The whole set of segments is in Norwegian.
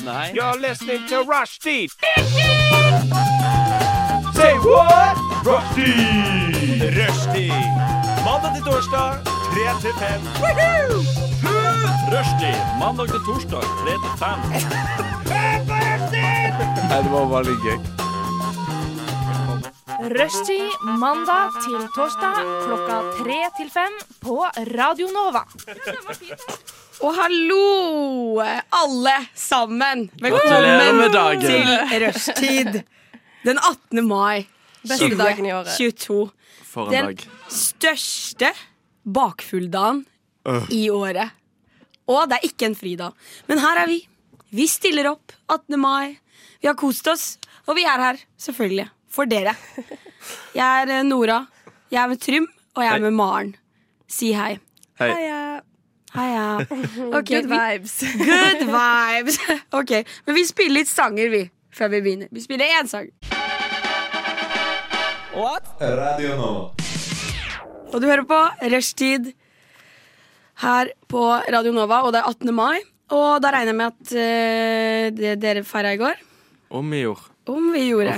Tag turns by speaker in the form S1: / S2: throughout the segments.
S1: Nei.
S2: You're listening to Rushdie. Say what? Rushdie. Rushdie. Mandag til torsdag, 3 til 5.
S1: Rushdie mandag til torsdag 3 til 5.
S2: Nei, det var veldig gøy.
S3: Rushtid mandag til torsdag klokka tre til fem på Radio Nova.
S4: Og hallo, alle sammen.
S1: Gratulerer med dagen.
S4: til rushtid. Den 18. mai
S5: Beste dagen i året.
S4: 2022.
S1: For en
S4: Den
S1: dag.
S4: største bakfulldagen
S1: Øh.
S4: i året. Og det er ikke en fridag. Men her er vi. Vi stiller opp 18. mai. Vi har kost oss, og vi er her, selvfølgelig, for dere. Jeg er eh, Nora, jeg er med Trym, og jeg
S1: Hei.
S4: er med Maren. Si hei.
S1: Hei.
S5: Heia.
S4: Hei, ja. Ok,
S5: Good
S4: vi-
S5: vibes.
S4: Good vibes. Ok, men vi spiller litt sanger, vi, før vi begynner. Vi spiller én sang.
S6: Radio Nova.
S4: Og du hører på Rushtid her på Radio Nova, og det er 18. mai. Og da regner jeg med at eh, det dere feira i går.
S1: Om i år.
S4: Om vi gjorde.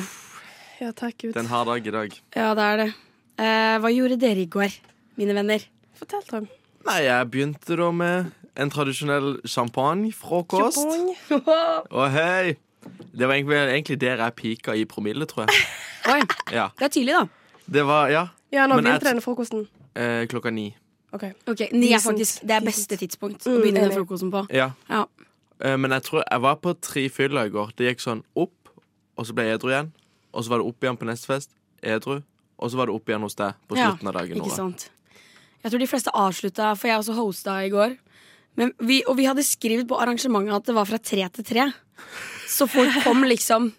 S5: Ja, takk Gud.
S1: Det er en hard dag i dag.
S4: Ja, det er det. Eh, hva gjorde dere i går, mine venner?
S5: Fortell, Trym.
S1: Nei, jeg begynte da med en tradisjonell champagnefrokost.
S5: Jabong.
S1: Og hei! Det var egentlig, egentlig der jeg pika i promille, tror jeg.
S4: Oi,
S1: Ja.
S4: det er tidlig, da.
S1: Det var Ja.
S5: Ja, nå
S1: Men jeg
S5: begynte denne frokosten.
S1: Eh, klokka ni.
S5: Ok.
S4: Ok, Ni er
S5: Decent,
S4: faktisk det er beste tidspunkt å
S5: Mm,
S4: begynne den
S5: enig.
S4: frokosten på.
S1: Ja.
S4: Ja.
S1: Eh, men jeg tror jeg var på tre fyller i går. Det gikk sånn opp, og så ble jeg edru igjen. Og så var det opp igjen på neste fest. Edru. Og så var det opp igjen hos deg på
S4: Ja,
S1: slutten av dagen.
S4: Ikke
S1: Nora.
S4: sant. Jeg tror de fleste avslutta, for jeg også hosta i går. Men vi, og vi hadde skrevet på arrangementet at det var fra tre til tre. Så folk kom liksom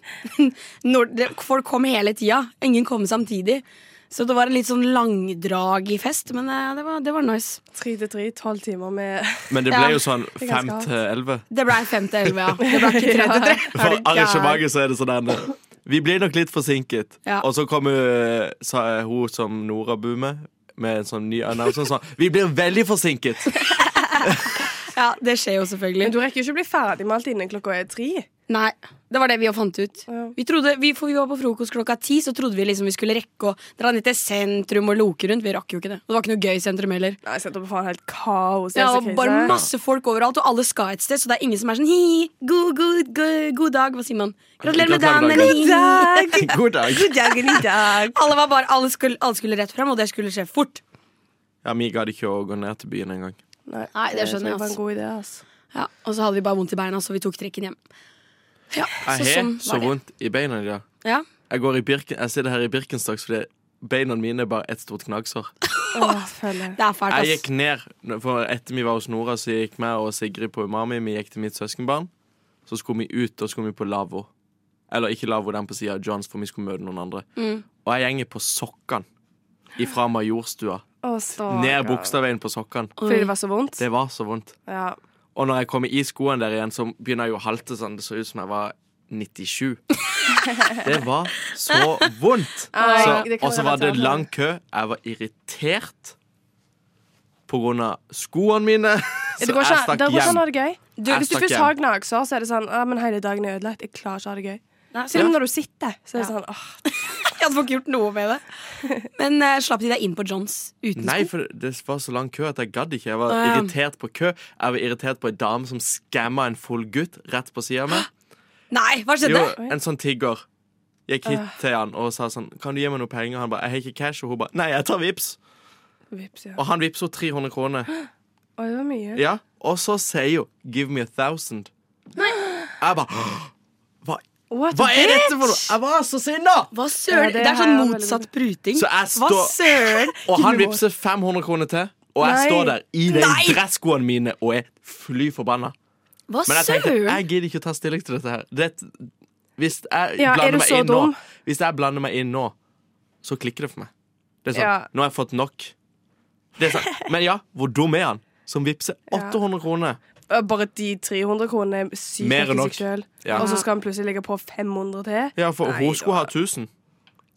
S4: når, det- Folk kom hele tida. Ingen kom samtidig. Så det var en litt sånn langdrag i fest, men eh, det var, det var nice.
S5: Tre til tre, tolv timer med
S1: Men det
S4: Ja.
S1: ble jo sånn
S5: er ganske
S1: fem
S5: hardt.
S1: til elleve.
S4: Det blei fem til elleve, ja. Det ble ikke tre til tre.
S1: For arrangementet så er det sånn ende. Vi blir nok litt forsinket.
S4: Ja.
S1: Og så kommer sa, hun som Nora bor med, med en sånn ny annonse og sånn Vi blir veldig forsinket!
S4: Ja, det skjer jo selvfølgelig.
S5: Men du rekker jo ikke å bli ferdig med alt innen klokka er tre.
S4: Nei, det var det vi jo fant ut.
S5: Ja.
S4: Vi trodde, vi, for vi var på frokost klokka ti, så trodde vi liksom vi skulle rekke å dra ned til sentrum og loke rundt. Vi rakk jo ikke det. Og det var ikke noe gøy i sentrum heller.
S5: Nei, jeg setter på faen helt kaos.
S4: Ja,
S5: jeg er så
S4: og
S5: krise.
S4: bare masse folk overalt, og alle skal et sted, så det er ingen som er sånn hi, god, god, god, god dag. Hva sier man? Gratulerer med dagen.
S1: Gratulerer med
S4: eller
S1: dagen.
S4: hi, hi.
S1: God dag!
S5: God dag, god dag.
S4: Alle, var bare, alle, skulle, alle skulle rett frem, og det skulle skje fort.
S1: Ja, Vi gadd ikke å gå ned til byen engang.
S5: Nei,
S4: Nei, det skjønner jeg,
S5: Det var
S4: ass.
S5: en god idé, ass.
S4: Ja, og så hadde vi bare vondt i beina, så vi tok trikken hjem. Ja, så
S1: Jeg har
S4: sånn
S1: så
S4: var det.
S1: vondt i beina i dag.
S4: Ja.
S1: Jeg, går i Birken, jeg sitter her i Birkenstocks fordi beina mine er bare et stort gnagsår.
S5: Åh, føler jeg.
S4: Det er fælt,
S1: Jeg
S4: ass.
S1: gikk ned, for etter vi var hos Nora, så gikk meg og Sigrid på Umami. Vi gikk til mitt søskenbarn. Så skulle vi ut, og så skulle vi på lavvo. Eller ikke lavvo, den på sida av Johns, for vi skulle møte noen andre. Og jeg gjenger på sokkene ifra Majorstua.
S5: Åh, stakkar.
S1: Ned Bogstadveien på sokkene.
S5: Fordi det var så vondt?
S1: Det var så vondt.
S5: Ja.
S1: Og når jeg kommer i skoene der igjen, så begynner jeg jo å halte sånn. Det ser ut som jeg var 97. Det var så vondt.
S5: Nei,
S1: Så,
S5: det kan
S1: og så
S5: jeg
S1: var det
S5: relatere til.
S1: lang kø. Jeg var irritert på grunn av skoene mine. Så
S5: Det går
S1: jeg
S5: ikke,
S1: stakk
S5: det går ikke
S1: hjem.
S5: sånn an å ha det gøy. Du,
S1: Jeg
S5: hvis du
S1: stakk
S5: først
S1: hjem.
S5: har gnagsår, så er det sånn ah, men 'Hele dagen er ødelagt. Jeg klarer ikke å ha det gøy.'
S4: Nei.
S5: Selv om
S1: Ja.
S5: når du sitter, så er det sånn åh,
S4: Jeg hadde ikke gjort noe med det. Men eh, slapp de deg inn på Johns uten
S1: Nei,
S4: sko?
S1: for det var så lang kø at jeg gadd ikke. Jeg var
S4: Å, ja.
S1: irritert på kø. Jeg var irritert på ei dame som skamma en full gutt rett på sida av meg.
S4: Nei, hva skjedde?
S1: Jo, en sånn tigger. Gikk hit til han og sa sånn Kan du gi meg noe penger? Han bare Jeg har ikke cash. Og hun bare Nei, jeg tar vips.
S5: Vips, ja.
S1: Og han vippsa 300 kroner.
S5: Oi, det var mye.
S1: Ja, Og så sier hun 'give me a thousand'. Jeg bare Hva,
S5: What
S1: hva
S5: a
S1: er
S5: bitch!
S1: dette for noe?! Jeg var så sinna!
S4: Hva søren?
S5: Ja,
S4: det,
S5: det
S4: er
S5: her
S4: sånn
S5: er veldig
S4: motsatt pruting.
S1: Så jeg
S4: Hva
S1: står-
S4: søren?
S1: Og han vippser 500 kroner til, og jeg
S5: Nei.
S1: står der i de
S4: Nei.
S1: dresskoene mine og er fly forbanna.
S4: Hva
S1: Men jeg tenkte,
S4: søren?
S1: jeg gidder ikke å ta stilling til dette her. Det, hvis, jeg
S5: Ja, er du
S1: blander meg
S5: så
S1: inn nå,
S5: dum?
S1: hvis jeg blander meg inn nå, så klikker det for meg. Det er sånn,
S5: Ja.
S1: Nå har jeg fått nok. Det er sånn. Men ja, hvor dum er han? Som vippser 800 kroner.
S5: Øh, Bare de 300 kronene er sykt
S1: Mer
S5: nok
S1: enn
S5: i
S1: nok.
S5: seg sjøl.
S1: Ja.
S5: Og så skal han plutselig legge på 500 til.
S1: Ja, for
S5: Nei,
S1: hun skulle
S5: da.
S1: ha 1000.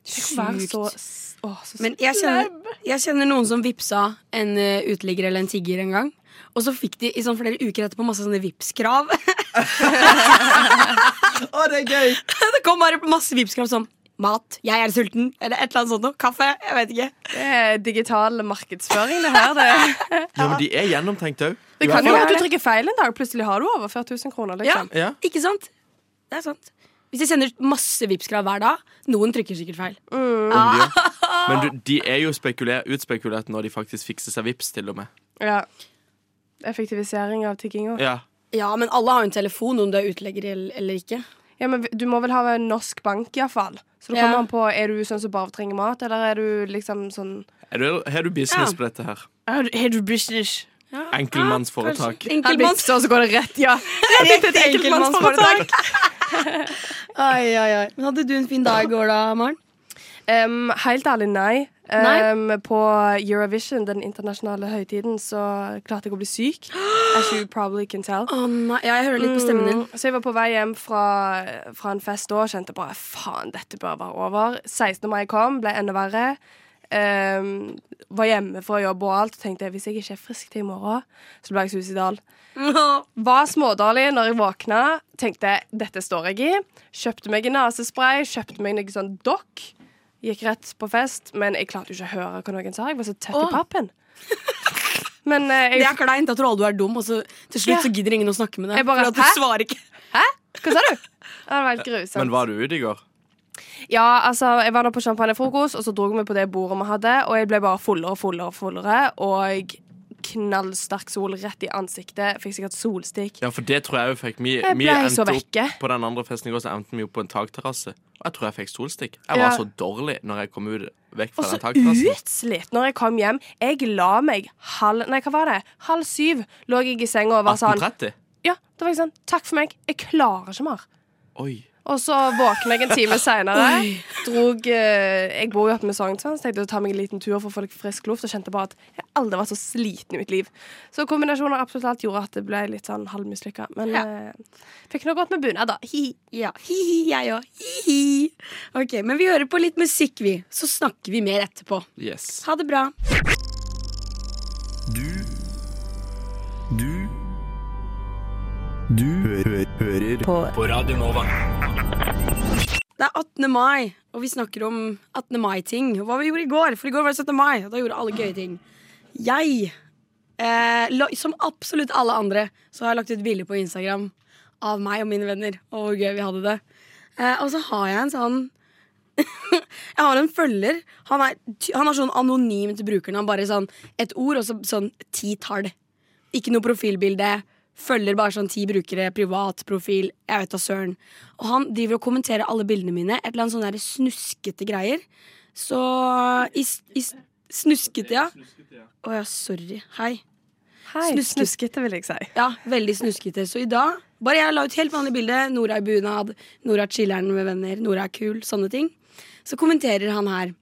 S5: Vær så,
S4: Sjukt.
S5: s- åh, så
S4: Men jeg kjenner, jeg kjenner noen som vippsa en eh, uteligger eller en tigger en gang. Og så fikk de i sånn flere uker etterpå masse sånne vippskrav.
S1: Å, det er gøy!
S4: Det kom bare masse vipskrav sånn Mat, jeg er sulten, eller et eller annet sånt noe. Kaffe, jeg vet ikke.
S5: Det er digital markedsføring, det her. Det,
S1: Ja, men de er gjennomtenkt òg.
S5: det kan jo være at du trykker feil en dag. Plutselig har du overført 1000 kroner. liksom
S1: Ja.
S4: Ikke sant? Det er sant. Hvis de sender ut masse vipskrav hver dag, noen trykker sikkert feil.
S5: Ah.
S1: om de gjør. Men du, de er jo spekuler, utspekulert når de faktisk fikser seg vips til og med.
S5: ja. Effektivisering av tigginga.
S1: Ja.
S4: Ja, men alle har jo en telefon, om du er utelegger eller eller ikke.
S5: Ja, men du må vel ha en norsk bank, iallfall. Så det
S4: Ja.
S5: kommer an på er du sånn som bare trenger mat, eller er du liksom sånn
S1: Er du, har du business
S4: Ja.
S1: på dette her?
S5: Er du business?
S1: Enkeltmannsforetak.
S4: Enkeltmanns...
S5: og så går det rett, ja. Rett til et
S4: enkeltmannsforetak. Ai, ai, ai. Men hadde du en fin dag i går, da, Maren?
S5: Um, helt ærlig, nei.
S4: Nei?
S5: Um, På Eurovision, den internasjonale høytiden, så klarte jeg å bli syk. As you probably can tell.
S4: Å nei, ja, jeg hører litt på stemmen din.
S5: Mm, Så jeg var på vei hjem fra, fra en fest da og kjente bare faen, dette bør være over. 16. mai kom, ble enda verre. Um, var hjemme fra jobb og alt og tenkte hvis jeg ikke er frisk til i morgen, så blir jeg suicidal.
S4: Mm.
S5: Var smådårlig når jeg våkna. Tenkte dette står jeg i. Kjøpte meg en nesespray, kjøpte meg noe sånn dokk. Gikk rett på fest, men jeg klarte jo ikke å høre hva noen sa. Jeg var så tett i pappen. Men eh,
S4: Det
S5: jeg,
S4: er kleint at du alle du er dum, og så til slutt
S5: Ja.
S4: så gidder ingen å snakke med deg.
S5: Jeg bare,
S4: for at du
S5: hæ?
S4: svarer ikke.
S5: hva sa du? Ja, Det var helt grusomt.
S1: Men var du ute i går?
S5: Ja, altså, jeg var nå på champagnefrokost, og så dro vi på det bordet vi hadde, og jeg ble bare fullere og fullere og fullere, og knallsterk sol rett i ansiktet. Fikk sikkert solstikk.
S1: Ja, for det tror jeg jo fikk. Vi,
S5: Jeg
S1: vi
S5: ble så
S1: endte opp
S5: vekke.
S1: på den andre festen i går, så endte vi opp på en takterrasse. Og jeg tror jeg fikk solstikk. Jeg var
S5: Ja.
S1: så dårlig når jeg kom ut vekk
S5: Og
S1: fra
S5: så
S1: den takterrassen.
S5: utslitt når jeg kom hjem. Jeg la meg halv Nei, hva var det? Halv syv lå jeg i senga og var sånn
S1: 1830?
S5: Ja, da var jeg sånn Takk for meg. Jeg klarer ikke mer.
S1: Oi.
S5: Og så våkna jeg en time seinere. Drog eh, Jeg bor jo oppe med Sognsvann, så tenkte jeg å ta meg en liten tur for å få litt frisk luft. Og kjente bare at jeg aldri har vært så sliten i mitt liv. Så kombinasjonen av absolutt alt gjorde at det ble litt sånn halvmislykka. Men
S4: Ja.
S5: eh, fikk nå godt med bunad, da. Hi.
S4: Ja, hi-hi, jeg òg. Hi-hi. Ok, men vi hører på litt musikk, vi. Så snakker vi mer etterpå.
S1: Yes.
S4: Ha det bra.
S7: Du Du Du hø hø hører på. Radio Nova.
S4: Det er 18. mai, og vi snakker om 18. mai-ting. og Hva vi gjorde i går, for i går var det 17. mai, og da gjorde alle gøye ting. Jeg, eh, la, som absolutt alle andre, så har jeg lagt ut bilder på Instagram av meg og mine venner, og hvor gøy vi hadde det. Eh, og så har jeg en sånn Jeg har en følger. Han er, ty- han er sånn anonym til brukeren. Han bare sånn et ord og så sånn ti tall. Ikke noe profilbilde. Følger bare sånn ti brukere, privat profil. Jeg vet da søren. Og han driver og kommenterer alle bildene mine. Et eller annet sånn der snuskete greier. Så i, s- i s- Snuskete, ja. Å ja, sorry. Hei.
S5: Hei.
S4: Snus-
S5: Snuskete, vil jeg si.
S4: Ja, veldig snuskete. Så i dag Bare jeg la ut helt vanlig bilde. Nora i bunad. Nora chiller'n med venner. Nora er kul. Sånne ting. Så kommenterer han her.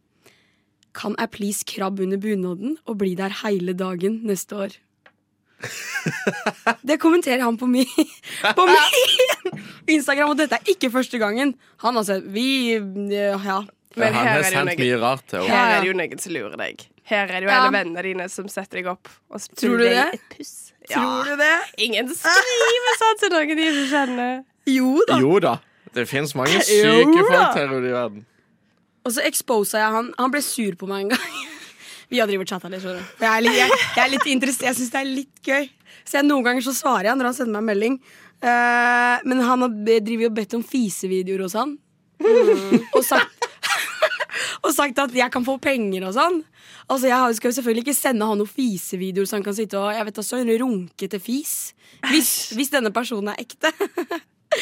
S4: Kan jeg please krabbe under bunaden og bli der hele dagen neste år? Det kommenterer han på min, på min Instagram, og dette er ikke første gangen. Han altså Vi eh, Ja.
S5: Men
S1: han har
S5: her er det jo
S1: sendt
S5: noe,
S1: mye rart til henne.
S5: her er det jo noen som lurer deg. Her er det jo
S4: Ja.
S5: alle vennene dine som setter deg opp. Og spiller
S4: Tror du
S5: deg
S4: det?
S5: Et puss. Ja.
S4: Tror du det?
S5: Ingen skriver sånn til noen de ikke kjenner.
S4: Jo da.
S1: Jo da. Det fins mange syke folk her ute i verden.
S4: Og så exposa jeg han. Han ble sur på meg en gang. Vi har drivet chatta litt, skjønner du. For Jeg, er litt- jeg, jeg, er litt interessert- jeg syns det er litt gøy. Så jeg, noen ganger så svarer jeg når han sender meg en melding. Eh, men han har be- driver jo og bedt om fisevideoer hos han.
S1: Mm.
S4: Og sagt Og sagt at jeg kan få penger og sånn. Altså Jeg har- skal jo selvfølgelig ikke sende han noen fisevideoer så han kan sitte og jeg vet da søren, runke til fis. Hvis, hvis denne personen er ekte.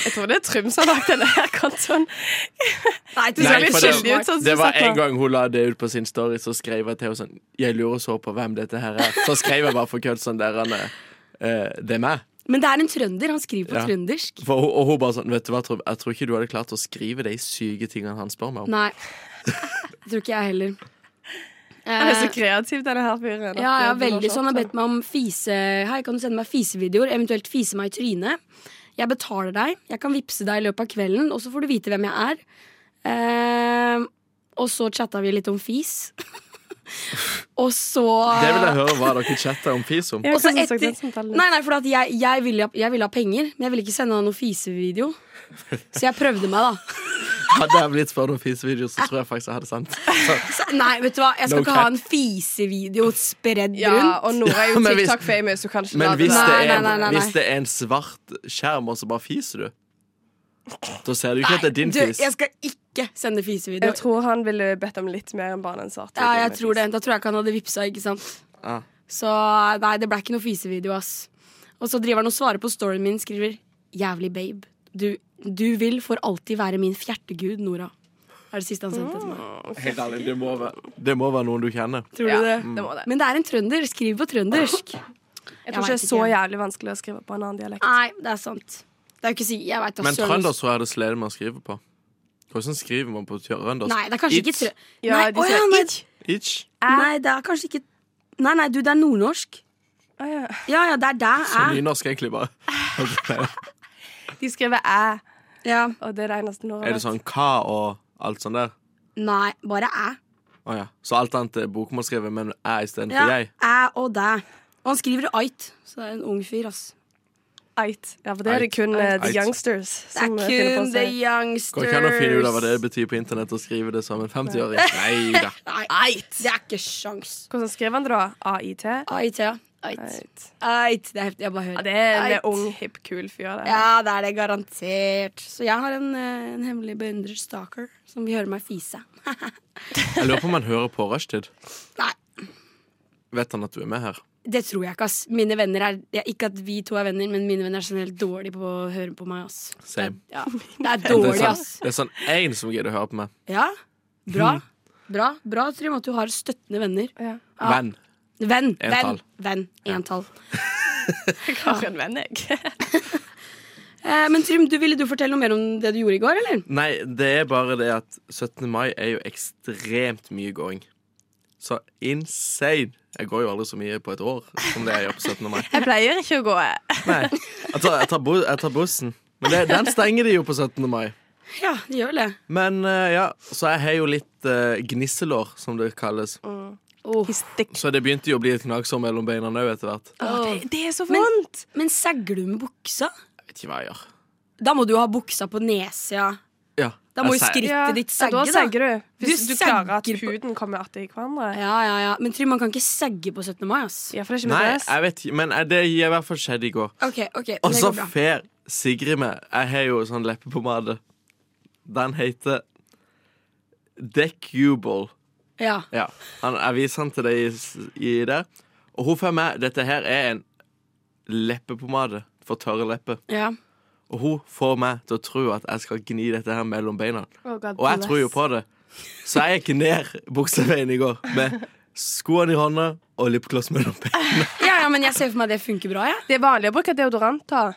S5: Jeg tror det er Trym som har lagt denne her kontoen.
S4: Nei,
S5: Du ser
S1: Nei,
S5: litt
S1: for det-
S5: skyldig ut. sånn som
S1: Det
S5: du
S1: var
S5: satt nå.
S1: en gang hun la det ut på sin story, så skrev jeg til henne sånn Jeg lurer så på hvem dette her er. Så skrev jeg bare for kødd sånn der han eh, Det er meg.
S4: Men det er en trønder. Han skriver på
S1: Ja.
S4: trøndersk.
S1: For, hun- og hun bare sånn Vet du hva, Trond, jeg tror ikke du hadde klart å skrive de syke tingene han spør meg om.
S4: Nei. Jeg tror ikke jeg heller.
S5: Han er så
S4: Eh,
S5: kreativ, denne her fyren.
S4: ja, ja, veldig sånn. Han har bedt meg om fise Hei, kan du sende meg fisevideoer? Eventuelt fise meg i trynet. Jeg betaler deg. Jeg kan vippse deg i løpet av kvelden, og så får du vite hvem jeg er. Eh, og så chatta vi litt om fis. Og så
S1: Det vil jeg høre hva dere chatta om fis om.
S5: Jeg
S4: Og så
S5: kunne sagt
S4: etter-
S5: den samtalen.
S4: Nei, nei, for at jeg, jeg, ville, ha- jeg ville ha penger, men jeg ville ikke sende han noen fisevideo. Så jeg prøvde meg, da.
S1: Hadde jeg blitt spurt om fisevideoer, så tror jeg faktisk jeg hadde sendt.
S4: Så, nei, vet du hva, jeg skal
S1: No
S4: ikke
S1: cap.
S4: ha en fisevideo spredd
S5: Ja,
S4: rundt.
S5: og Nora er jo
S1: Ja, men hvis-
S5: TikTok-famous, så kanskje
S1: Men hvis det,
S4: Nei,
S1: er,
S4: nei, nei, nei.
S1: hvis det er en svart skjerm, og så bare fiser du, da ser du ikke at det er din
S4: du,
S1: fis.
S4: jeg skal ikke sende fisevideo.
S5: Jeg tror han ville bedt om litt mer enn bare en svart.
S4: Ja, jeg tror det. Da tror jeg ikke han hadde vippsa, ikke sant.
S1: Ja.
S4: Så nei, det ble ikke noe fisevideo, ass. Og så driver han og svarer på storyen min, skriver 'Jævlig babe'. Du, du vil for alltid være min fjertegud, Nora. Er det siste han sendte til meg.
S1: Helt ærlig, det må, være, det må være noen du kjenner.
S4: Tror
S5: Ja,
S4: du det?
S5: det må det.
S4: Men det er en trønder. Skriv på trøndersk.
S5: Jeg tror
S4: Jeg vet
S5: ikke det er så
S4: ikke.
S5: jævlig vanskelig å skrive på en annen dialekt.
S4: Nei, det er sant. Det er jo ikke si, jeg vet da
S1: Men
S4: søren
S1: trønder
S4: også.
S1: tror jeg det sleder med å skrive på. Hvordan skriver man på trøndersk?
S4: Nei, det er kanskje ikke
S1: Itch,
S4: trø...
S5: Ja,
S4: nei,
S5: de
S4: å ja,
S5: sier
S4: nei,
S1: Itch.
S4: nei, det er kanskje ikke Nei, nei, du, det er nordnorsk.
S5: Å, ja.
S4: Ja, ja, det er der
S1: Så
S4: jeg
S1: nynorsk egentlig bare.
S5: De skriver æ,
S4: ja.
S5: og det er det eneste Nora
S1: Er det sånn hva og alt sånt der?
S4: Nei, bare æ.
S1: Å ja. Så alt annet er bokmålskrevet, men jeg istedenfor
S4: Ja,
S1: jeg?
S4: æ og dæ. Og han skriver ait, så det er en ung fyr, ass.
S5: Eit. Ja, for det er det
S1: Eit.
S5: kun eh, the
S1: Eit.
S5: youngsters
S4: Det er
S5: som eh, finner
S4: kun
S5: på
S4: the
S5: seg.
S4: youngsters.
S1: Går ikke an å finne ut av hva det betyr på internett og skrive det som en 50-åring? Nei da.
S4: Nei, det er ikke sjans.
S5: Hvordan skriver han det, da? AIT?
S4: Ait, ja. Ait.
S5: Eit.
S4: Ait. Det er heftig. Jeg bare hører.
S5: Ja, det er en
S4: Eit.
S5: ung, hipp, kul fyr. Det.
S4: Ja, det er det garantert. Så jeg har en, eh, en hemmelig beundrer stalker som vil høre meg fise.
S1: Jeg lurer på om han hører på rushtid.
S4: Nei,
S1: Vet han at du er med her?
S4: det tror jeg ikke, ass. Mine venner er ja, Ikke at vi to er venner, men mine venner er generelt dårlige på å høre på meg, ass.
S1: Same.
S4: Ja, det er
S1: Det er
S4: dårlig,
S1: sånn,
S4: ass.
S1: det er sånn én som gidder å høre på meg.
S4: Ja, bra. Bra, bra Trym, at du har støttende venner.
S5: Ja.
S4: Ja.
S1: Venn.
S4: Venn, venn,
S1: Entall.
S4: venn. Entall.
S5: Jeg har en venn, jeg.
S4: Eh, men Trym, du, ville du fortelle noe mer om det du gjorde i går, eller?
S1: Nei, det er bare det at 17. mai er jo ekstremt mye gåing. Så insane. Jeg går jo aldri så mye på et år som det jeg gjør på 17. mai.
S5: Jeg pleier ikke å gå.
S1: Nei, Jeg tar, jeg tar, bu jeg tar bussen. Men det, den stenger de jo på 17. mai.
S4: Ja, det gjør vel det.
S1: Men eh, ja, så jeg har jo litt eh, gnisselår, som det kalles.
S4: Mm.
S5: Oh.
S1: Så det begynte jo å bli et gnagsår mellom beina òg etter hvert.
S5: Det, det er så
S4: Men-
S5: vondt!
S4: Men sagger du med buksa?
S1: Jeg vet ikke hva jeg gjør.
S4: Da må du ha buksa på nesa.
S1: Ja,
S4: Da må
S1: jeg
S4: jo
S1: sier-
S4: skrittet ditt
S5: Ja,
S4: sagge,
S5: da sagger du. Hvis
S4: Du
S5: du, klarer at
S4: sagger på-
S5: huden kommer att i hverandre.
S4: Ja, ja, ja. Men Trym, man kan ikke sagge på 17. mai, ass.
S5: Ja, for det er ikke
S1: Nei,
S5: mitt dress.
S1: jeg vet ikke, men eh, det i hvert fall skjedde i går.
S4: Ok, ok,
S1: Og
S4: det
S1: så
S4: går bra.
S1: fer Sigrid meg Jeg har jo sånn leppepomade Den heter Decubal
S4: Ja.
S1: Ja, han, jeg viser han til deg i, s- i der Og hun fer meg Dette her er en leppepomade For tørre leppe
S4: ja.
S1: Og hun får meg til å tro at jeg skal gni dette her mellom beina
S5: Oh, God
S1: Og jeg tror jo
S5: bless.
S1: på det Så jeg gikk ned bukseveien i går Med skoene i hånda Og lippgloss mellom beina
S4: ja, ja, men jeg ser for meg det funker bra, jeg.
S5: Det er vanlig å bruke deodorant. da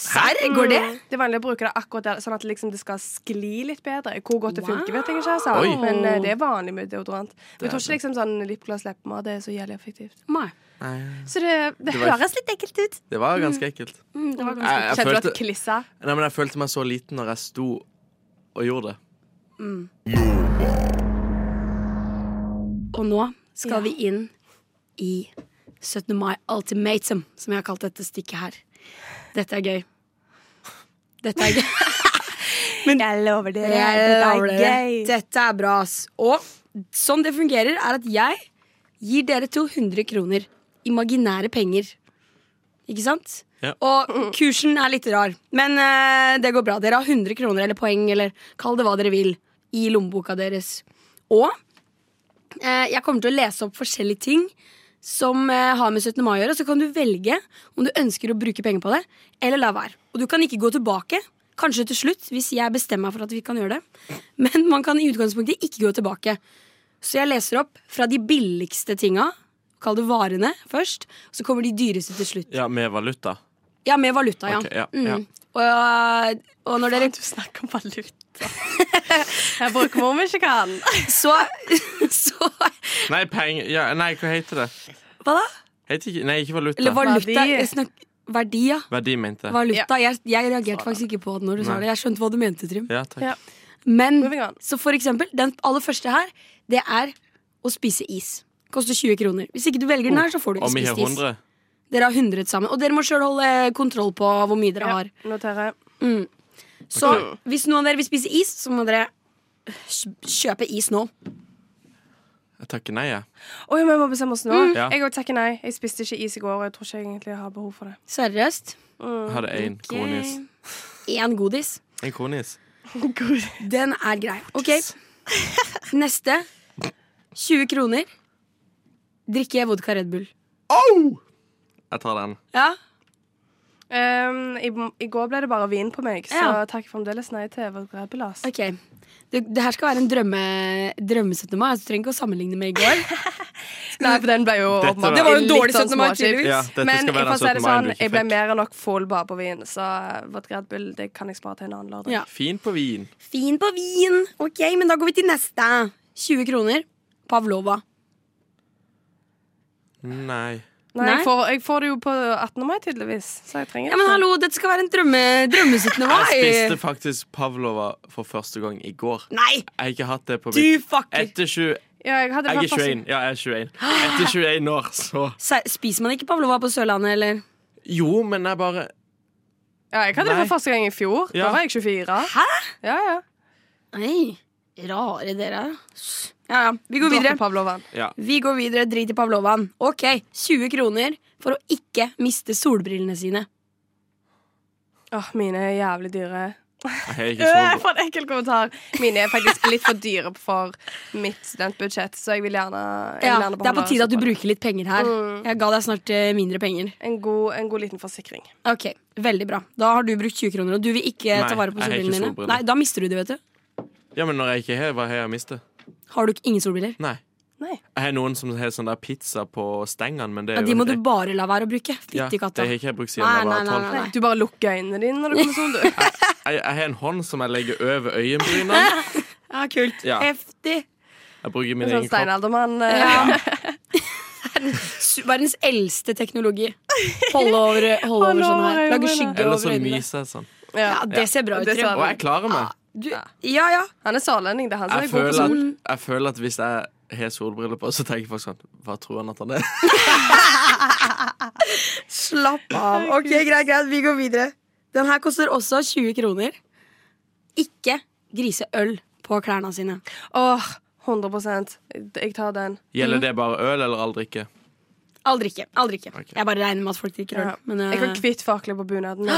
S4: Serr, går det?
S5: Mm. Det er vanlig å bruke det akkurat der, sånn at liksom det skal skli litt bedre. Hvor godt det
S4: Wow.
S5: funker, vet jeg ikke. Altså.
S1: Oi.
S5: Men eh, det er vanlig med deodorant. Men jeg
S1: er
S5: tror ikke liksom sånn lipgloss leppepomade er så jævlig effektivt.
S4: Nei.
S5: Så det, det,
S1: var-
S5: høres litt ekkelt ut.
S1: Det var ganske ekkelt
S4: Mm, det var ganske
S1: Jeg, jeg
S5: Kjente du
S1: følte
S5: at klissa?
S1: Nei, men jeg følte meg så liten når jeg sto og gjorde det.
S4: Og nå skal vi inn i 17. mai ultimatum, som jeg har kalt dette stykket her. Dette er gøy. Dette er gøy.
S5: jeg lover
S4: lover
S5: dere, dette
S4: dere.
S5: er gøy.
S4: Dette er bra, ass. Og sånn det fungerer, er at jeg gir dere 200 kroner. Imaginære penger. Ikke sant?
S1: Ja.
S4: Og kursen er litt rar, men eh, det går bra. Dere har 100 kroner eller poeng, eller kall det hva dere vil, i lommeboka deres. Og eh, jeg kommer til å lese opp forskjellige ting som eh, har med 17. mai å gjøre. Så kan du velge om du ønsker å bruke penger på det, eller la være. Og du kan ikke gå tilbake. Kanskje til slutt, hvis jeg bestemmer meg for at vi kan gjøre det. Men man kan i utgangspunktet ikke gå tilbake. Så jeg leser opp fra de billigste tinga, kall det varene først, så kommer de dyreste til slutt.
S1: Ja, med valuta.
S4: Ja, med valuta, ja.
S1: Ok, ja,
S4: mm.
S1: ja.
S4: Og, og når dere
S5: Du snakker om valuta. jeg bruker meg om jeg ikke kan.
S4: så, så
S1: Nei, penger ja, Nei, hva heter det?
S4: Hva da?
S1: Heter ikke, nei, ikke valuta.
S4: Eller valuta.
S5: Verdi.
S4: Jeg snak, verdi, ja.
S1: Verdi, mente jeg.
S4: Valuta. Jeg, jeg reagerte faktisk ikke på det når du sa
S1: Nei.
S4: det. Jeg skjønte hva du mente, Trym.
S1: Ja, takk.
S5: Ja.
S4: Men
S5: Moving on.
S4: så for eksempel, den aller første her, det er å spise is. Koster 20 kroner. Hvis ikke du velger den her, så får du ikke
S1: Om vi har
S4: spist is.
S1: 100?
S4: Dere har 100 sammen. Og dere må sjøl holde eh, kontroll på hvor mye dere har.
S5: Noterer.
S4: Så hvis noen av dere vil spise is, så må dere eh, kj- kjøpe is nå.
S1: Jeg takker nei, jeg.
S5: Å ja, vi må bestemme oss nå.
S1: Ja.
S5: Jeg òg takker nei. Jeg spiste ikke is i går, og jeg tror ikke jeg egentlig jeg har behov for det.
S4: Seriøst.
S1: Jeg hadde
S4: Mm,
S1: én kronis.
S4: Én godis.
S1: En kronis.
S4: Den er grei. Ok. Neste. 20 kroner. Drikke vodka Red Bull.
S1: Jeg tar den.
S4: Ja.
S5: Um, i, I går ble det bare vin på meg, så
S4: Ja.
S5: takker fremdeles nei til Evert Rebelas.
S4: Ok. Det, det her skal være en drømme, drømme 17. mai. Altså, du trenger ikke å sammenligne med i går.
S5: Nei, for den ble jo
S1: Dette
S5: åpenbart
S1: var- Det var
S4: jo en dårlig
S5: litt sånn
S4: 17. mai,
S5: småkjip.
S4: tydeligvis.
S1: Ja, dette
S5: Men
S1: skal være
S5: jeg, får
S1: den
S5: si
S1: 17. mai
S5: det
S1: du
S5: sånn,
S1: ikke
S5: jeg ble
S1: fikk.
S5: mer enn nok full bare på vin, så vårt Red Bull det kan jeg spare til en annen lørdag.
S4: Ja.
S1: Fin på vin.
S4: Fin på vin. Ok, men da går vi til neste. 20 kroner. Pavlova.
S1: Nei.
S5: Nei,
S4: Nei?
S5: Jeg, får, jeg får det jo på 18. mai, tydeligvis, så jeg trenger
S4: Ja, men
S5: ikke.
S4: hallo, dette skal være en drømme, drømme 17.
S1: Spiste
S4: mai.
S1: faktisk pavlova for første gang i går.
S4: Nei,
S1: Jeg har ikke hatt det på
S4: du
S1: mitt
S4: fucker.
S1: Etter 20
S5: Ja, jeg, hadde
S1: Jeg er
S5: vært fast-
S1: 21. Ja, jeg er 21. Etter 21 år, så
S4: Se- Spiser man ikke pavlova på Sørlandet, eller?
S1: Jo, men jeg bare
S5: Ja, jeg hadde det
S1: Nei.
S5: for første gang i fjor.
S1: Ja.
S5: Da var jeg 24.
S4: Hæ?
S5: Ja, ja.
S4: Nei, rare dere. Ja, ja, vi går
S5: Videre.
S4: videre.
S5: Pavlovan.
S4: Vi går videre, drit i pavlovaen. Ok, 20 kroner for å ikke miste solbrillene sine.
S5: Åh, mine er jævlig dyre.
S1: Jeg har ikke
S5: Øh,
S1: så
S5: for en enkel kommentar. Mine er faktisk litt for dyre for mitt studentbudsjett, så jeg vil gjerne, jeg vil
S4: Ja,
S5: gjerne
S4: det er på
S5: beholde
S4: tide at du
S5: såpass.
S4: bruker litt penger her. Jeg ga deg snart eh, mindre penger.
S5: en god, en god liten forsikring.
S4: Ok, Veldig bra. Da har du brukt 20 kroner, og du vil ikke
S1: Nei,
S4: ta vare på
S1: jeg har ikke
S4: solbrillene dine.
S1: solbriller.
S4: Nei, Da mister du det, vet du.
S1: Ja, men når jeg ikke har, hva har jeg å miste?
S4: Har du ikke ingen solbriller?
S1: Nei.
S5: Nei.
S1: Jeg har noen som har sånn der pizza på stengene, men det
S4: Ja,
S1: er
S4: De
S1: jo
S4: må
S1: en
S4: du
S1: grei-
S4: bare la være å bruke.
S1: ja,
S4: Fytti katta.
S1: Det har ikke jeg brukt siden
S4: Nei,
S1: jeg
S4: nei,
S1: var
S4: nei, nei,
S1: tolv.
S4: nei.
S5: Du bare lukker øynene dine når det kommer sånn, du.
S1: Jeg, jeg har en hånd som jeg legger over øyenbrynene.
S4: Ja, kult.
S1: Ja.
S4: Heftig.
S1: Jeg bruker min
S5: En
S1: egen
S5: sånn
S1: kropp.
S5: steinaldermann. eh,
S4: Ja. Su- Verdens eldste teknologi. Holde over, holde over
S5: Holde
S4: sånn her.
S5: over
S4: Lage
S5: øynene.
S4: skygge
S1: Eller
S4: over
S1: så
S4: øynene.
S1: myser jeg sånn.
S5: ja.
S4: Ja, det ser bra ut.
S5: Det
S4: Trym.
S5: ser
S1: Og jeg klarer meg.
S4: Du, ja, ja.
S5: Han er sørlending, det er han som
S1: Jeg
S5: er god
S1: føler,
S5: på sånn- sol.
S1: at, jeg føler at hvis jeg har solbriller på, så tenker folk sånn Hva tror han at han er?
S4: Slapp av. Ok, Greit, greit, vi går videre. Den her koster også 20 kroner. Ikke grise øl på klærne sine.
S5: Åh, 100 Jeg tar den.
S1: Gjelder det bare øl eller all drikke?
S4: All drikke. all drikke Jeg bare regner med at folk drikker øl.
S5: Ja.
S4: Men, eh,
S5: Jeg kan kvitt fakler på bunaden. min.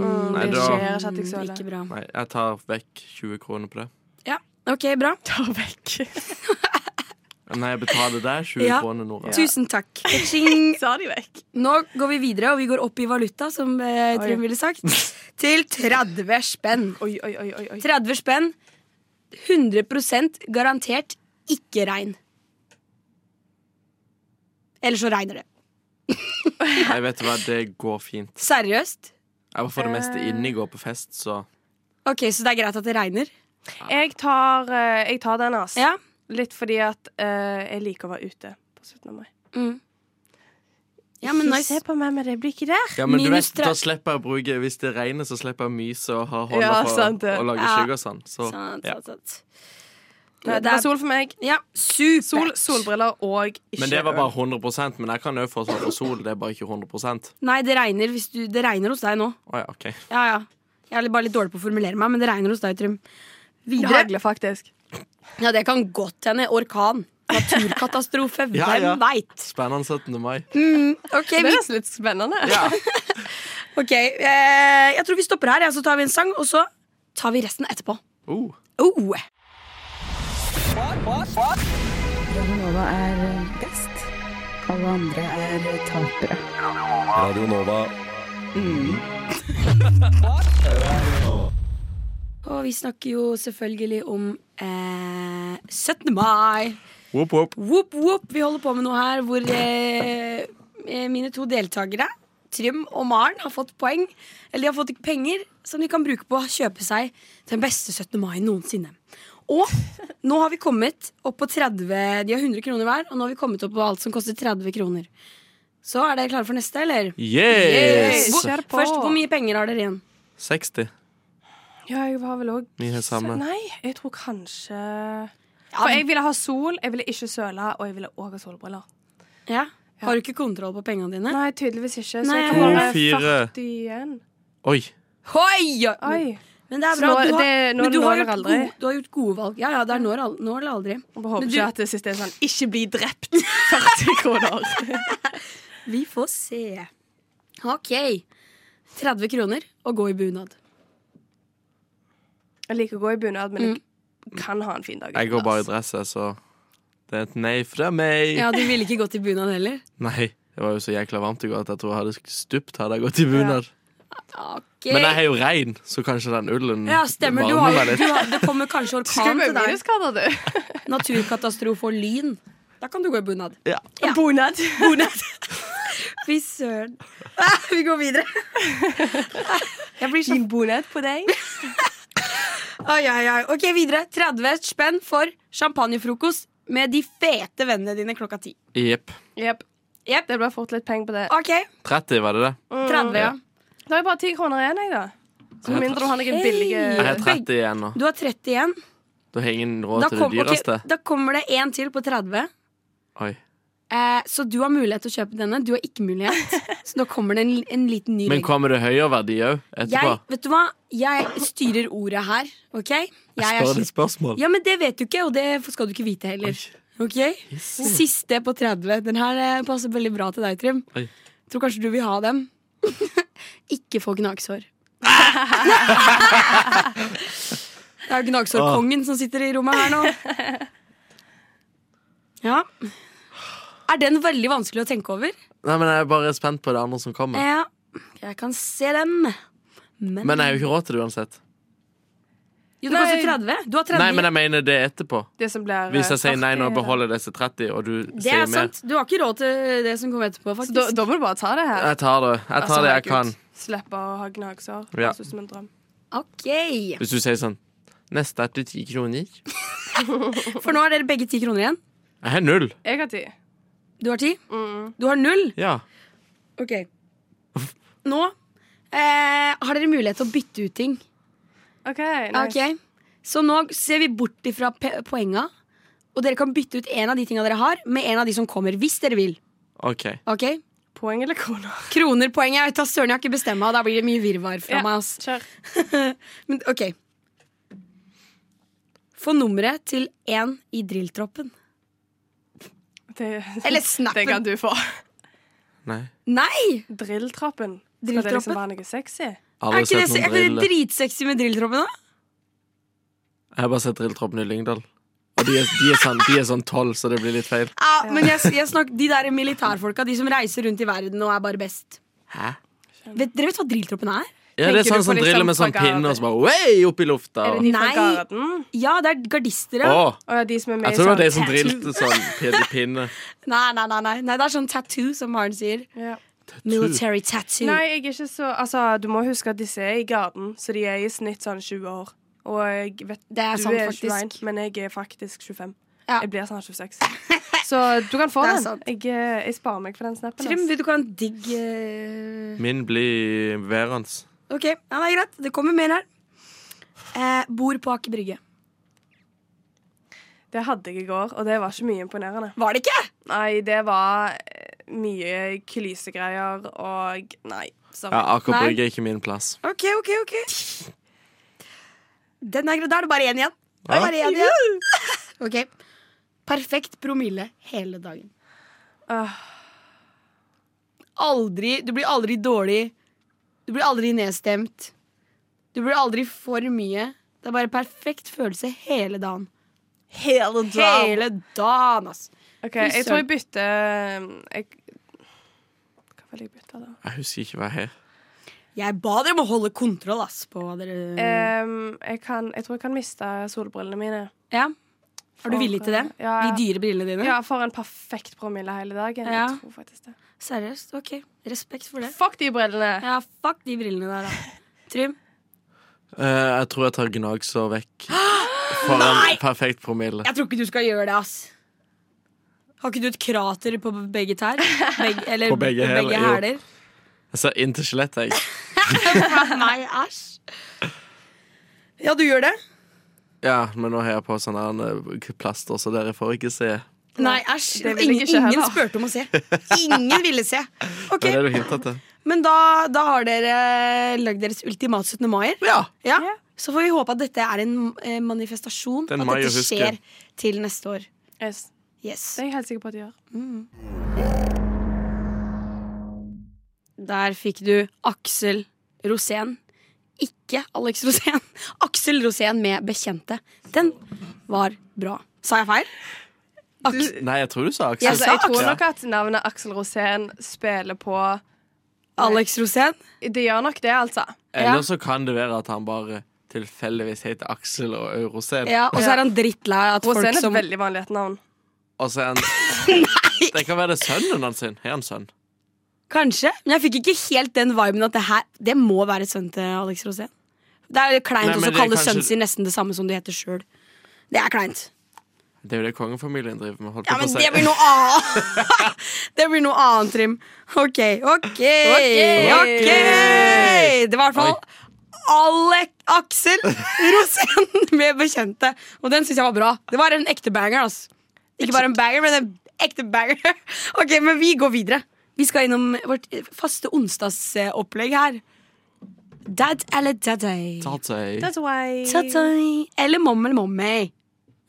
S5: Mm,
S1: Nei,
S5: det
S1: da-
S5: skjer ikke at jeg
S4: mm,
S5: søler.
S4: ikke bra.
S1: Nei, jeg tar vekk 20 kroner på det.
S4: Ja, ok, bra.
S1: Nei, jeg betaler deg 20
S4: Ja.
S1: kroner, Nora.
S4: Tusen takk. Ka-ching.
S5: Sa de vekk?
S4: Nå går vi videre, og vi går opp i valuta, som eh, Trym ville sagt. Til 30 spenn.
S5: Oi, oi, oi. oi, oi.
S4: 30 spenn. 100 garantert ikke regn. Eller så regner det.
S1: Nei, vet du hva, det går fint.
S4: Seriøst?
S1: Jeg var for det meste inne i går på fest, så
S4: Ok, Så det er greit at det regner?
S5: Jeg tar, eh, jeg tar den, ass.
S4: Ja.
S5: Litt fordi at eh, jeg liker å være ute på 17. mai.
S4: Mm. Ja, men
S5: Ikke
S4: nice.
S5: Se på meg med det blikket der.
S1: Ja, men du
S4: Minus
S1: vet,
S4: tre-
S1: da slipper jeg å bruke Hvis det regner, så slipper jeg å myse og ha hånda
S5: Ja,
S1: for
S5: sant det.
S1: å lage
S4: Ja.
S1: skygge og sånn. Så,
S4: Sant,
S1: ja.
S4: sant, sant.
S5: Nei, det var sol for meg.
S4: Ja, supert.
S5: Sol, solbriller og ikke
S1: Men det var bare
S5: øl.
S1: 100 Men jeg kan òg få sånn på sol, det er bare ikke 100 Å
S4: Nei, det regner, hvis du, det regner hos deg nå.
S1: ja, OK.
S4: Ja, ja. Jeg er bare litt dårlig på å formulere meg, men det regner hos deg, Trym.
S5: Det
S4: Videre.
S5: hagler faktisk.
S4: Ja, det kan godt hende. Orkan. Naturkatastrofe.
S1: Ja, ja.
S4: Hvem veit?
S1: Spennende 17. mai.
S4: Ok,
S5: Det
S4: vi,
S5: er nesten litt spennende.
S4: ok, eh, jeg tror vi stopper her, ja, så tar vi en sang, og så tar vi resten etterpå.
S1: Oh.
S4: Oh.
S8: Nova er eh, best. Alle andre er eh, tapere. Mm.
S6: Radio Nova.
S4: Og vi snakker jo selvfølgelig om eh, 17. mai.
S1: Whoop, whoop.
S4: Whoop, whoop. Vi holder på med noe her hvor eh, mine to deltakere, Trym og Maren, har fått poeng. Eller de har fått penger som de kan bruke på å kjøpe seg den beste 17. mai noensinne. Og nå har vi kommet opp på 30 De har 100 kroner hver, og nå har vi kommet opp på alt som koster 30 kroner. Så er dere klare for neste, eller?
S1: Yes!
S4: Hvor,
S5: Kjør på.
S4: først, hvor mye penger har dere igjen?
S1: 60.
S5: Ja, jeg var vel òg
S1: Vi har samme.
S5: Nei, jeg tror kanskje For jeg ville ha sol, jeg ville ikke søle, og jeg ville òg ha solbriller.
S4: Ja. Har du ikke kontroll på pengene dine?
S5: Nei, tydeligvis ikke. Så
S4: Nei,
S5: jeg
S4: jeg
S5: kan
S1: må- To,
S5: bare
S1: fire.
S5: 41.
S1: Oi.
S4: Hoi! Men,
S5: Oi.
S4: men det er
S5: Så
S4: bra.
S5: nå-
S4: Du har,
S5: det- nå-
S4: men du
S5: nå
S4: har,
S5: eller
S4: gjort
S5: aldri.
S4: gode, du har gjort gode valg. Ja, ja, det er nå eller al- nå eller aldri.
S5: Jeg håper
S4: Men du-
S5: ikke at det siste er sånn 'ikke bli drept', 40 kroner.
S4: Vi får se. OK. 30 kroner og gå i bunad.
S5: Jeg liker å gå i bunad, men jeg kan ha en fin dag.
S1: Jeg går bare i
S5: utenlands.
S1: dress, jeg, så det er et nei fra meg.
S4: Ja, du ville ikke gått i bunad heller?
S1: Nei. Det var jo så jækla varmt i går at jeg tror jeg hadde stupt hadde jeg gått i bunad.
S4: Ok.
S1: Men jeg har jo regn, så kanskje den ullen
S4: Ja, stemmer. Du
S1: varmer
S4: har,
S1: meg litt.
S4: du har, det kommer kanskje
S5: Skal
S4: orkan
S5: vi
S4: til deg.
S5: øyeskader, du?
S4: Naturkatastrofe og lyn. Da kan du gå i bunad.
S1: Ja.
S4: Ja.
S5: Bunad.
S4: Fy søren. Ah, Vi går videre.
S5: Jeg blir sånn bunad på deg.
S4: Ai, ai, ai. Ok, videre. 30 spenn for champagnefrokost med de fete vennene dine klokka ti.
S1: Jepp.
S5: Yep.
S4: Jep.
S5: Det ble fort litt penger på det.
S4: Ok,
S1: 30, var det det?
S4: 30, Mm. ja.
S5: Da har jeg bare 10 kroner igjen, jeg, da. Så med mindre du har noen
S4: Hei.
S1: Jeg
S5: billige
S1: har 30 igjen nå.
S4: Du har 30 igjen.
S1: Da har jeg ingen
S4: Eh,
S1: råd
S4: Da,
S1: til det
S4: kom, ok,
S1: dyreste.
S4: da kommer det én til på 30.
S1: Oi.
S4: Eh, så du har mulighet til å kjøpe denne. Du har ikke mulighet. Så da kommer det en, en liten ny
S1: Men
S4: regel.
S1: kommer det høyere verdi òg etterpå?
S4: Jeg, vet du hva? Jeg styrer ordet her, OK? Jeg er
S1: Spør
S4: sist.
S1: et spørsmål.
S4: Ja, men det vet du ikke, og det skal du ikke vite heller. Ok? Siste på 30. Den her eh, passer veldig bra til deg, Trym.
S1: Oi.
S4: Tror kanskje du vil ha dem. ikke få gnagsår. det er jo gnagsårkongen som sitter i rommet her nå. Ja. Er den veldig vanskelig å tenke over?
S1: Nei, men Jeg er bare spent på det andre som kommer.
S4: Ja. Jeg kan se dem. Men,
S1: Men jeg har jo ikke råd til det uansett.
S4: Jo, det koster
S5: Nei.
S4: 30. Du har 30.
S1: Nei, men jeg mener det etterpå.
S5: Det som blir eh,
S1: Hvis jeg sier nei nå,
S5: 40,
S1: beholder jeg disse 30, og du
S4: det
S1: sier
S4: er
S1: mer.
S4: sant. Du har ikke råd til det som kommer etterpå,
S5: Så
S4: faktisk.
S5: da, da må du bare ta det her.
S1: Jeg tar det. Jeg
S5: Altså,
S1: tar det jeg
S5: herregud.
S1: kan.
S5: Slippe å ha gnagsår.
S1: Ja.
S5: Høres ut som en drøm.
S4: Ok.
S1: Hvis du sier sånn Neste er til ti kroner. Jeg
S4: For nå har dere begge ti kroner igjen.
S1: har null.
S5: Jeg har ti.
S4: Du har ti. Du har null.
S1: Ja.
S4: Ok. Nå eh, har dere mulighet til å bytte ut ting.
S5: OK. Nice.
S4: Ok. Så nå ser vi bort ifra pe- poenga, og dere kan bytte ut en av de tinga dere har, med en av de som kommer, hvis dere vil.
S1: OK.
S4: Ok?
S5: Poeng eller kroner?
S4: Kroner, poeng. Jeg vet da søren, jeg har ikke bestemt meg, og da blir det mye virvar fra
S5: Ja,
S4: meg. ass.
S5: Kjør.
S4: Men ok. Få nummeret til én i drilltroppen.
S5: Det,
S4: Eller
S5: det kan
S4: snappen.
S5: du få.
S1: Nei.
S4: Nei!
S5: Drilltrappen. Skal det
S4: Drilltrappen?
S5: liksom være noe sexy?
S4: Er
S1: Aldri
S4: ikke
S1: sett
S4: det, se- er
S1: noen
S4: ikke det
S1: drill.
S4: dritsexy med drilltroppen, da?
S1: Jeg har bare sett drilltroppen i Lyngdal. Og de er, de er sånn de er sånn tolv, så det blir litt feil.
S4: Ja, men jeg, jeg snakker, De der militærfolka, de som reiser rundt i verden og er bare best.
S1: Hæ?
S4: Vet, dere vet hva drilltroppen er?
S1: Ja, det er sånn
S5: Tenker du på
S1: som
S5: liksom
S1: driller med sånn
S5: plakater?
S1: pinne og så bare way opp i lufta.
S5: Er
S1: Og,
S5: det de fra
S4: Nei.
S5: Garden?
S4: Ja, det er gardister. ja.
S1: å,
S5: Å ja, de som er med
S1: jeg tror det var de
S5: i
S1: som
S5: sånn
S1: drilte sånn pinne. pinne.
S4: Nei, nei, nei, nei, nei, det er sånn tattoo, som Maren sier.
S5: Ja.
S4: Military tattoo.
S5: Nei, jeg er ikke så Altså, du må huske at disse er i Garden, så de er i snitt sånn 20 år. Og jeg vet
S4: det er
S5: du
S4: sant,
S5: er
S4: faktisk.
S5: 21, men jeg er faktisk 25.
S4: Ja.
S5: Jeg blir snart 26. Så du kan få
S4: Det er
S5: den.
S4: sant.
S5: Jeg, eh, jeg sparer meg for den snappen.
S4: Trym,
S5: ass.
S4: vil du ikke ha en digg
S5: Mm.
S4: eh,
S1: Min blir værende.
S4: OK, ja, det er greit. Det kommer mer her. Eh, bor på Aker Brygge.
S5: Det hadde jeg i går, og det var ikke mye imponerende.
S4: Var det ikke?
S5: Nei, det var eh, mye klysegreier og Nei. Sorry.
S1: Ja, Aker
S4: Nei.
S1: Brygge er ikke min plass.
S4: OK, OK, OK. Den er grei. Da er det bare én igjen. Da er det
S1: Ja.
S4: bare én igjen. OK. Perfekt promille hele dagen.
S5: Åh.
S4: Ah. Aldri Du blir aldri dårlig. Du blir aldri nedstemt. Du blir aldri for mye. Det er bare perfekt følelse hele dagen.
S5: Hele
S4: Hele dagen, ass.
S5: OK,
S4: Fy
S5: jeg tror jeg bytter ehm, jeg, Hva vil jeg bytte, da?
S1: Jeg husker ikke hva jeg har.
S4: Jeg ba dere om å holde kontroll, ass, på hva dere
S5: Ehm, jeg, kan, jeg tror jeg kan miste solbrillene mine.
S4: Ja. Er du villig til det?
S5: Ja,
S4: De dyre brillene dine?
S5: ja, for en perfekt promille hele dagen.
S4: Ja.
S5: Jeg tror faktisk det.
S4: Seriøst? OK. Respekt for det.
S5: Fuck de brillene!
S4: Ja, fuck de brillene der, da. Trym.
S1: Eh, jeg tror jeg tar gnagsår vekk. For en perfekt promille.
S4: Jeg tror ikke du skal gjøre det, ass. Har ikke du et krater på begge tær? Begge, eller
S1: På begge hæler,
S4: begge
S1: jo.
S4: hæler?
S1: Jeg ser inn til skjelettet, jeg.
S4: Nei, æsj. Ja, du gjør det?
S1: Ja, men nå har jeg på sånn der, eh, plaster, så dere får ikke se.
S4: Nei, æsj.
S5: det vil jeg
S4: Ingen,
S5: ikke heller.
S4: ingen spurte om å se. Ingen ville se. Ok,
S1: Det er det du hintet til.
S4: Men da, da har dere lagd deres ultimat 17. maier.
S1: Ja.
S4: Ja. Så får vi håpe at dette er en eh, manifestasjon.
S1: Den
S4: At
S1: mai å
S4: dette
S1: huske.
S4: skjer til neste år.
S5: Yes.
S4: Yes.
S5: Det er jeg helt sikker på at de gjør.
S4: Der fikk du Aksel Rosén. Ikke Alex Rosén. Aksel Rosén med Bekjente. Den var bra. Sa jeg feil? Aks
S1: Nei, jeg tror du sa Aksel.
S4: Jeg
S5: Altså,
S4: sa
S5: jeg tror
S1: Aksel.
S5: nok at navnet Aksel Rosén spiller på
S4: Alex Rosén?
S5: Det gjør nok det, altså.
S1: Eller så kan det være at han bare tilfeldigvis heter Aksel og Eurosén.
S4: Ja, og så er han drittlei av at
S5: Rosén
S4: folk
S5: er
S4: som
S5: et veldig vanlig etternavn.
S1: Og så er han Det kan være det sønnen hans. sin. Har han sønn?
S4: Kanskje. Men jeg fikk ikke helt den viben at det her Det må være sønnen til Alex Rosén. Det er jo kleint
S1: Nei, men
S4: også å
S1: det er
S4: kalle
S1: kanskje-
S4: sønnen sin nesten det samme som du heter sjøl. Det er kleint.
S1: Det er jo det kongefamilien driver med. Holdt
S4: Ja,
S1: jeg på
S4: men
S1: å si.
S4: det blir noe annet. det blir noe annet, Trym. OK, OK. ok Det var i hvert fall Alec Aksel Rosén med bekjente. Og den syns jeg var bra. Det var en ekte banger. ass Ikke bare en banger, men en ekte banger. OK, men vi går videre. Vi skal innom vårt faste onsdagsopplegg her. Dad eller daddy?
S1: Tatt seg.
S5: That's why.
S4: Daddy. Eller mom eller mommy.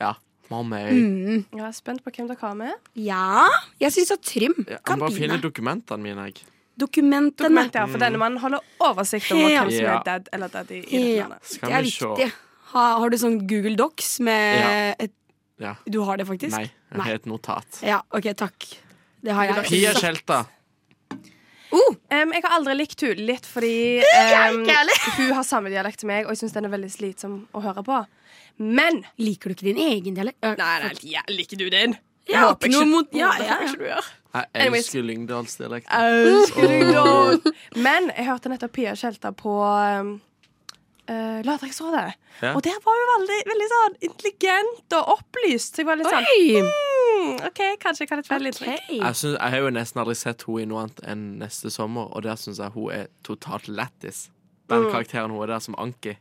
S1: Ja. Mamma,
S4: Mm.
S5: Jeg er spent på hvem dere har med.
S4: Ja, jeg syns at Trym
S1: jeg
S4: kan
S1: kan bare finne
S4: begynne.
S1: dokumentene mine. Jeg.
S4: Dokumentene.
S5: Dokument, ja, for denne mannen holder oversikt over
S4: Ja.
S5: hvem som
S1: Ja.
S5: er dead eller daddy i dette
S4: Ja,
S5: landet.
S1: Skal
S4: det er
S1: vi se.
S4: viktig. Har, har du sånn Google Docs med
S1: Ja.
S4: et,
S1: Ja.
S4: Du har det faktisk?
S1: Nei, jeg har et notat.
S4: Ja, OK, takk. Det har jeg.
S1: Pia Tjelta.
S4: Oh,
S5: Em, jeg har aldri likt hun litt fordi em, hun har samme dialekt som meg, og jeg syns den er veldig slitsom å høre på. Men
S4: liker du ikke din egen dialekt? Øh,
S5: ja, liker du den?
S4: jeg har ikke noe mot ja, ja, ja.
S5: du gjør.
S1: Jeg
S5: Anyways.
S1: elsker Lyngdalsdialekt.
S5: Men jeg hørte nettopp Pia Tjelta på um, uh, Lørdagsrådet.
S1: Ja.
S5: Og der var hun veldig, veldig sånn intelligent og opplyst. Så jeg var litt sånn
S4: Oi!
S5: mm, OK, kanskje jeg kan et feil inntrykk.
S1: Jeg, synes, jeg har jo nesten aldri sett henne i noe annet enn neste sommer, og der syns jeg hun er totalt lættis. Den
S4: Mm.
S1: karakteren hun er der som Anki.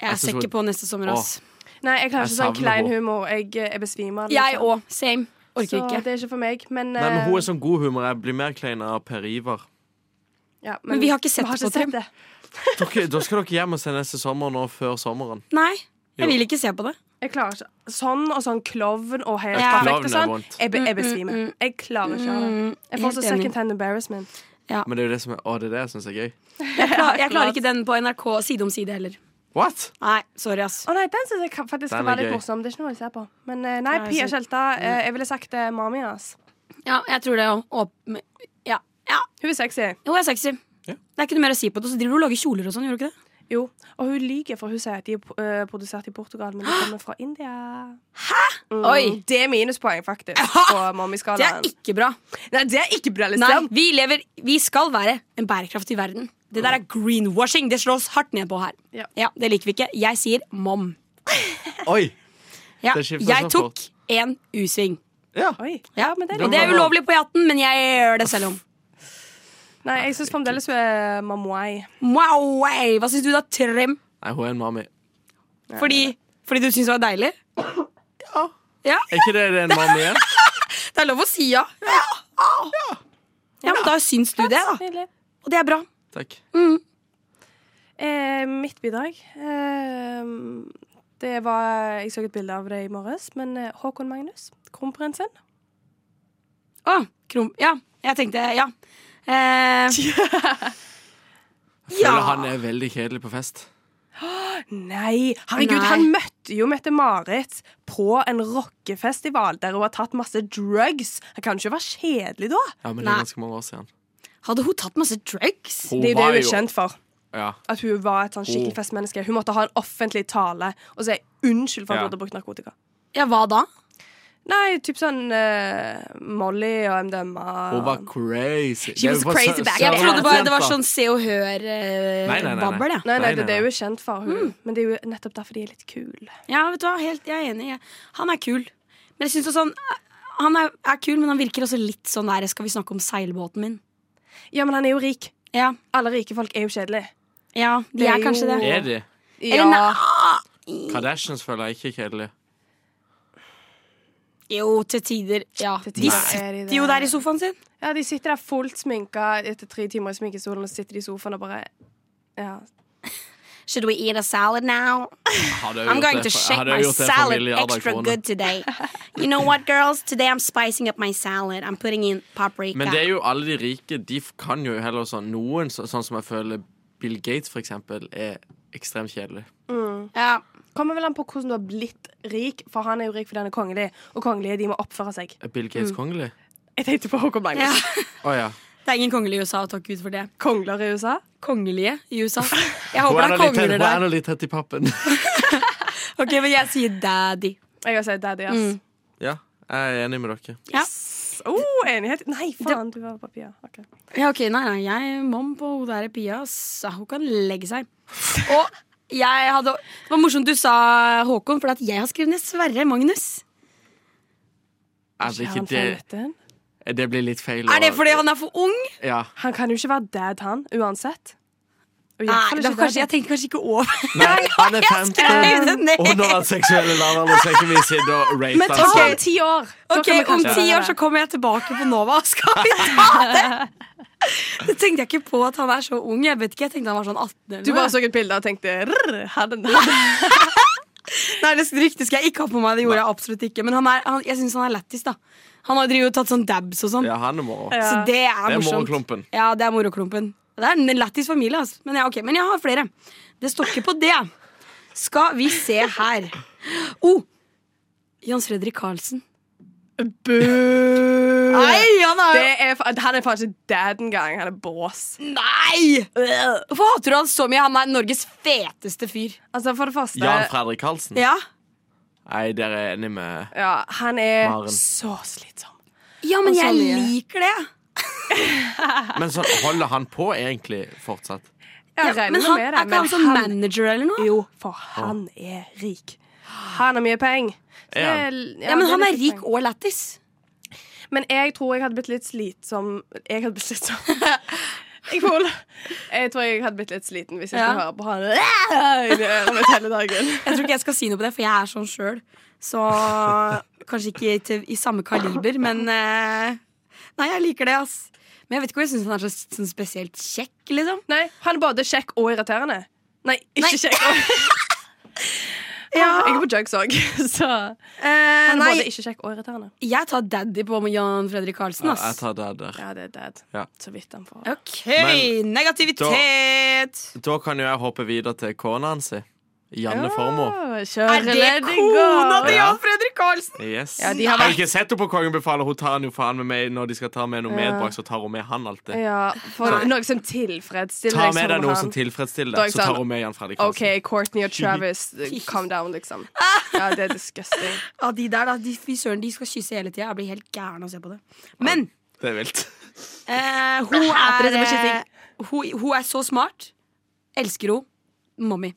S4: Jeg
S1: synes
S4: ser ikke på neste sommer,
S1: Åh.
S4: ass.
S5: Nei, jeg klarer
S1: Jeg
S5: ikke sånn
S1: savner
S5: klein
S1: henne.
S5: humor. Jeg, eh, jeg besvimer.
S4: Jeg
S5: liksom.
S4: òg. Same. Orker
S5: Så
S4: ikke.
S5: det er ikke for meg. Men,
S1: Nei, men hun
S5: eh,
S1: er sånn god humor. Jeg blir mer klein av Per Ivar.
S5: ja,
S4: Men vi har ikke sett det på Trym.
S5: det.
S1: Dere, da skal dere hjem og se neste sommer nå før sommeren.
S4: Nei,
S1: Jo.
S4: jeg vil ikke se på det.
S5: Jeg klarer ikke. Sånn og sånn klovn og helt
S4: Ja.
S5: perfekt og
S1: Klovn er
S5: sånn.
S1: vondt.
S5: Jeg, be,
S4: Mm,
S5: jeg besvimer. Jeg klarer ikke å gjøre det. Jeg får
S4: helt
S5: så
S4: enig.
S5: second hand embarrassment.
S1: Men det er jo det som er Å, det er det jeg syns er gøy.
S4: Jeg, klar, jeg klarer ikke den på NRK side om side heller.
S1: What?
S4: Nei, sorry, ass.
S5: Å nei, den syns jeg kan-
S1: Den
S5: faktisk skal
S1: er
S5: være
S1: gøy.
S5: litt morsom. Det er ikke noe jeg ser på. Men eh, nei,
S4: Nei,
S5: Pia
S4: så-
S5: Tjelta. eh, Jeg ville sagt eh, mami hans.
S4: Ja, jeg tror det òg. Ja. ja.
S5: Hun er sexy.
S4: Jo, jeg er sexy.
S1: Ja.
S4: Det er ikke noe mer å si på det. Så driver du og lager kjoler og sånn, gjør du ikke det?
S5: Jo. Og hun lyver, for hun sier at de er po- eh, produsert i Portugal, men de kommer fra India. Mm.
S4: Oi.
S5: Det er minuspoeng, faktisk, på
S4: Det er
S5: mamiskalaen.
S4: ikke bra.
S5: Nei, det er ikke bra,
S4: Nei,
S5: liksom.
S4: vi, lever, vi skal være en bærekraftig verden. Det der er greenwashing. Det slås hardt ned på her.
S5: Ja.
S4: Det liker vi ikke. Jeg sier mom.
S1: Oi!
S4: Ja,
S1: Det skifter
S4: jeg
S1: så
S4: tok
S1: fort.
S4: en U-sving.
S1: Ja.
S5: Oi.
S4: Ja.
S5: men det er
S4: Og det er ulovlig på jatten, men jeg gjør det selv om.
S5: Nei, jeg syns fremdeles hun er mamoai.
S4: Wow, hey. Hva syns du da, Trym?
S1: Nei, hun er en mami.
S4: Fordi, fordi du syns det var deilig? Ja.
S1: Er ikke det det er en mami er?
S4: Det er lov å si ja. Ja, ja men da syns du det, da.
S5: Nydelig.
S4: Og det er bra.
S1: Takk.
S5: Eh, mitt bidrag eh, Det var Jeg så et bilde av det i morges, men eh, Håkon Magnus, kronprinsen
S4: Å, krum... Ja, jeg tenkte ja. Eh,
S1: Jeg føler
S4: Ja.
S1: han er veldig kjedelig på fest.
S5: Nei! Herregud,
S4: Nei.
S5: han møtte jo Mette-Marit på en rockefestival der hun har tatt masse drugs. Han kan ikke være kjedelig da.
S1: Ja, men det
S4: Nei.
S1: er ganske mange år siden.
S4: hadde hun tatt masse drugs?
S1: Hun
S5: Det er jo det
S1: var
S5: hun er
S1: jo-
S5: kjent for.
S1: Ja.
S5: At hun var et sånn skikkelig
S1: Oh.
S5: festmenneske. Hun måtte ha en offentlig tale og si unnskyld for
S1: Ja.
S5: at hun hadde brukt narkotika.
S4: Ja, hva da?
S5: Nei, typ sånn eh, Molly og MDMA.
S1: Hun var
S4: Um,
S1: crazy. Det er jo
S5: was
S1: bare
S5: crazy
S1: sø-
S5: back
S4: Jeg
S5: Ja,
S1: søren
S4: trodde
S1: hans
S4: bare det var
S1: jenta.
S4: sånn se og
S1: Nei,
S4: eh,
S1: nei, nei, nei.
S4: hør-babler, jeg.
S5: Nei,
S1: Nei,
S5: nei, det,
S1: nei,
S5: det er
S1: nei.
S5: jo kjent for hun Men det er jo nettopp derfor de er litt kul
S4: Ja, vet du hva, helt, jeg er enig. jeg. Han er kul. Men jeg synes også han, han er, er kul, men han virker også litt sånn der Skal vi snakke om seilbåten min?
S5: Ja, men han er jo rik
S4: Ja,
S5: Alle rike folk er jo kjedelige
S4: ja de
S5: Det er
S4: er kanskje
S5: jo-
S4: det.
S1: Er de?
S5: Ja,
S4: Eller nei,
S1: Kardashians føler jeg ikke er kjedelig.
S4: Jo, til tider. Ja.
S5: Til
S4: De
S5: tider er de
S4: sitter
S5: det.
S4: jo der i sofaen sin.
S5: Ja, de sitter der fullt sminka etter tre timer i sminkestolen, og så sitter de i sofaen og bare Ja.
S4: Should we eat a salad now?
S1: Hadde jeg
S4: I'm
S1: gjort det
S4: going to
S1: for-
S4: shake
S1: hadde jeg
S4: my
S1: gjort det for
S4: salad
S1: milliarder
S4: extra
S1: kroner.
S4: good today. You know what, girls? Today I'm spicing up my salad. I'm putting in paprika.
S1: Men det er jo alle de rike, de f- kan jo heller sånn Noen, så, sånn som jeg føler Bill Gates, for eksempel, er ekstremt kjedelig.
S4: ja.
S5: Kommer vel an på hvordan du har blitt rik, for han er jo rik fordi han er kongelig, og kongelige de må oppføre seg.
S1: Er Bill Gates
S4: Mm.
S1: kongelig?
S5: Jeg tenkte på Håkon Magnus.
S4: Ja.
S1: Å ja.
S4: det er ingen kongelige i USA, og takk Gud for det.
S5: Kongler i USA.
S4: Kongelige i USA. Jeg
S1: Hun
S4: håper
S1: er
S4: det
S1: nå litt
S4: er kongler
S1: tett- hun er
S4: der.
S1: nå litt tett i pappen.
S4: Ok, men jeg sier daddy.
S5: Jeg har sett Daddy, ass.
S4: Mm.
S1: ja, jeg er enig med dere.
S5: Oh, enighet. Nei, faen, du var på Pia. Ok.
S4: Ja, ok, nei, nei, jeg mom på hun der Pia, så hun kan legge seg. Og jeg hadde Det var morsomt du sa Håkon, for at jeg har skrevet ned Sverre Magnus.
S1: Altså,
S5: Er
S1: ikke
S5: han
S1: det,
S5: femten?
S1: det blir litt feil.
S4: Er det
S1: og-
S4: fordi han er for ung?
S1: Ja.
S5: Han kan jo ikke være dad, han, uansett. Og i
S4: Nei,
S5: hvert fall
S4: da,
S5: ikke
S4: kanskje,
S5: daddy.
S4: jeg tenkte kanskje ikke over.
S1: Nei, han er 15.
S4: Skriv det ned.
S1: Og når han seksuelle lavalder, så er ikke vi sitte og rate
S4: Men
S1: han
S4: ta-
S1: sånn.
S5: Om ti år! Da
S4: Ok,
S5: kan vi
S4: Om
S5: kanskje
S4: ti
S5: være
S4: år så kommer jeg tilbake på Nova. Skal vi ta det? Det tenkte jeg ikke på at han er så ung. Jeg vet ikke, jeg tenkte han var sånn 18
S5: Du
S4: eller
S5: bare
S4: noe.
S5: så et bilde og tenkte rrr, her den her.
S4: Nei, det ryktet skal jeg ikke ha på meg. Det gjorde jeg absolutt ikke. Men han er, han, jeg syns han er lættis, da. Han har drivet og tatt sånn dabs og sånn.
S1: Ja, han er moro.
S5: Ja.
S4: Så det er
S1: Det er
S4: morsomt.
S1: moroklumpen.
S4: Ja, det er moroklumpen. Det er en lættis familie, altså. Men, ja, ok, men jeg har flere. Det står ikke på det. Skal vi se her. Oh! Jans Fredrik Karlsen. Nei, han er jo
S5: Det er, fa- han er faen ikke dad engang. Han er bås.
S4: Nei! Hvorfor hater du han så mye? Han er Norges feteste fyr.
S5: Altså, for det første
S1: Jan Fredrik Karlsen?
S4: Ja,
S1: Nei, der er jeg enig med
S5: ja, Han er
S1: Maren.
S5: så slitsom.
S4: men
S5: Og så
S4: jeg
S5: mye.
S4: liker det.
S1: Men så holder han på egentlig fortsatt.
S5: Jeg
S4: Ja,
S5: regner
S4: men han,
S5: med det,
S4: er ikke han sånn manager eller noe?
S5: Jo, for han er rik. Han har mye penger. Så det
S1: Er han?
S5: er-
S4: Ja, men
S5: det
S4: han er
S5: litt
S4: rik
S5: penger.
S4: og lættis.
S5: Men jeg tror jeg hadde blitt litt slitsom Jeg hadde blitt slitsom. Jeg, får- jeg tror jeg hadde blitt litt sliten hvis jeg
S4: Ja.
S5: skulle høre på han i ørene mitt hele dagen.
S4: Jeg tror ikke jeg skal si noe på det, for jeg er sånn sjøl. Så kanskje ikke til, i samme kaliber, men eh, Nei, jeg liker det, ass. Men jeg vet ikke hvor jeg syns han er så sånn spesielt kjekk, liksom.
S5: Nei, han er både kjekk og irriterende. Nei, ikke
S4: Nei.
S5: kjekk. Og...
S4: Ja.
S5: Jeg er på Jugs òg, så
S4: Eh,
S5: Han er
S4: nei,
S5: både ikke kjekk og irriterende.
S4: jeg tar daddy på med Jan Fredrik Karlsen,
S1: Ja,
S4: ass.
S1: jeg tar det der.
S5: Ja, det er dad.
S1: Ja.
S5: Så vidt han får.
S4: OK,
S1: Men-
S4: negativitet!
S1: Da kan jo jeg hoppe videre til kona hans. Janne Formoe.
S5: Åh,
S4: Er
S5: kjøre
S4: det
S5: Lady
S4: kona
S5: Gaga.
S4: til
S1: Ja.
S4: Jan Fredrik Karlsen?
S1: Yes.
S5: Ja, de har
S1: har du ikke sett henne på Kongen befaler? Hun tar han jo faen med meg når de skal ta med noe medbrakt, så tar hun med han alltid.
S5: Ja, for noe som tilfredsstiller
S1: Ta
S5: deg
S1: med
S5: som
S1: deg noe
S5: han.
S1: som tilfredsstiller
S5: Da er
S1: deg,
S5: jeg
S1: så tar
S5: sånn,
S1: hun med Jan Fredrik
S5: OK,
S1: Karlsen.
S5: Courtney og Travis, calm down, liksom.
S4: Ah.
S5: Ja, det er disgusting.
S4: Ja, de der, da. De, fy søren, de skal kysse hele tida. Jeg blir helt gæren av å se på det. Men
S1: Det er vilt.
S4: eh, hun, er, eh, hun, hun er så smart. Elsker hun. Mommy.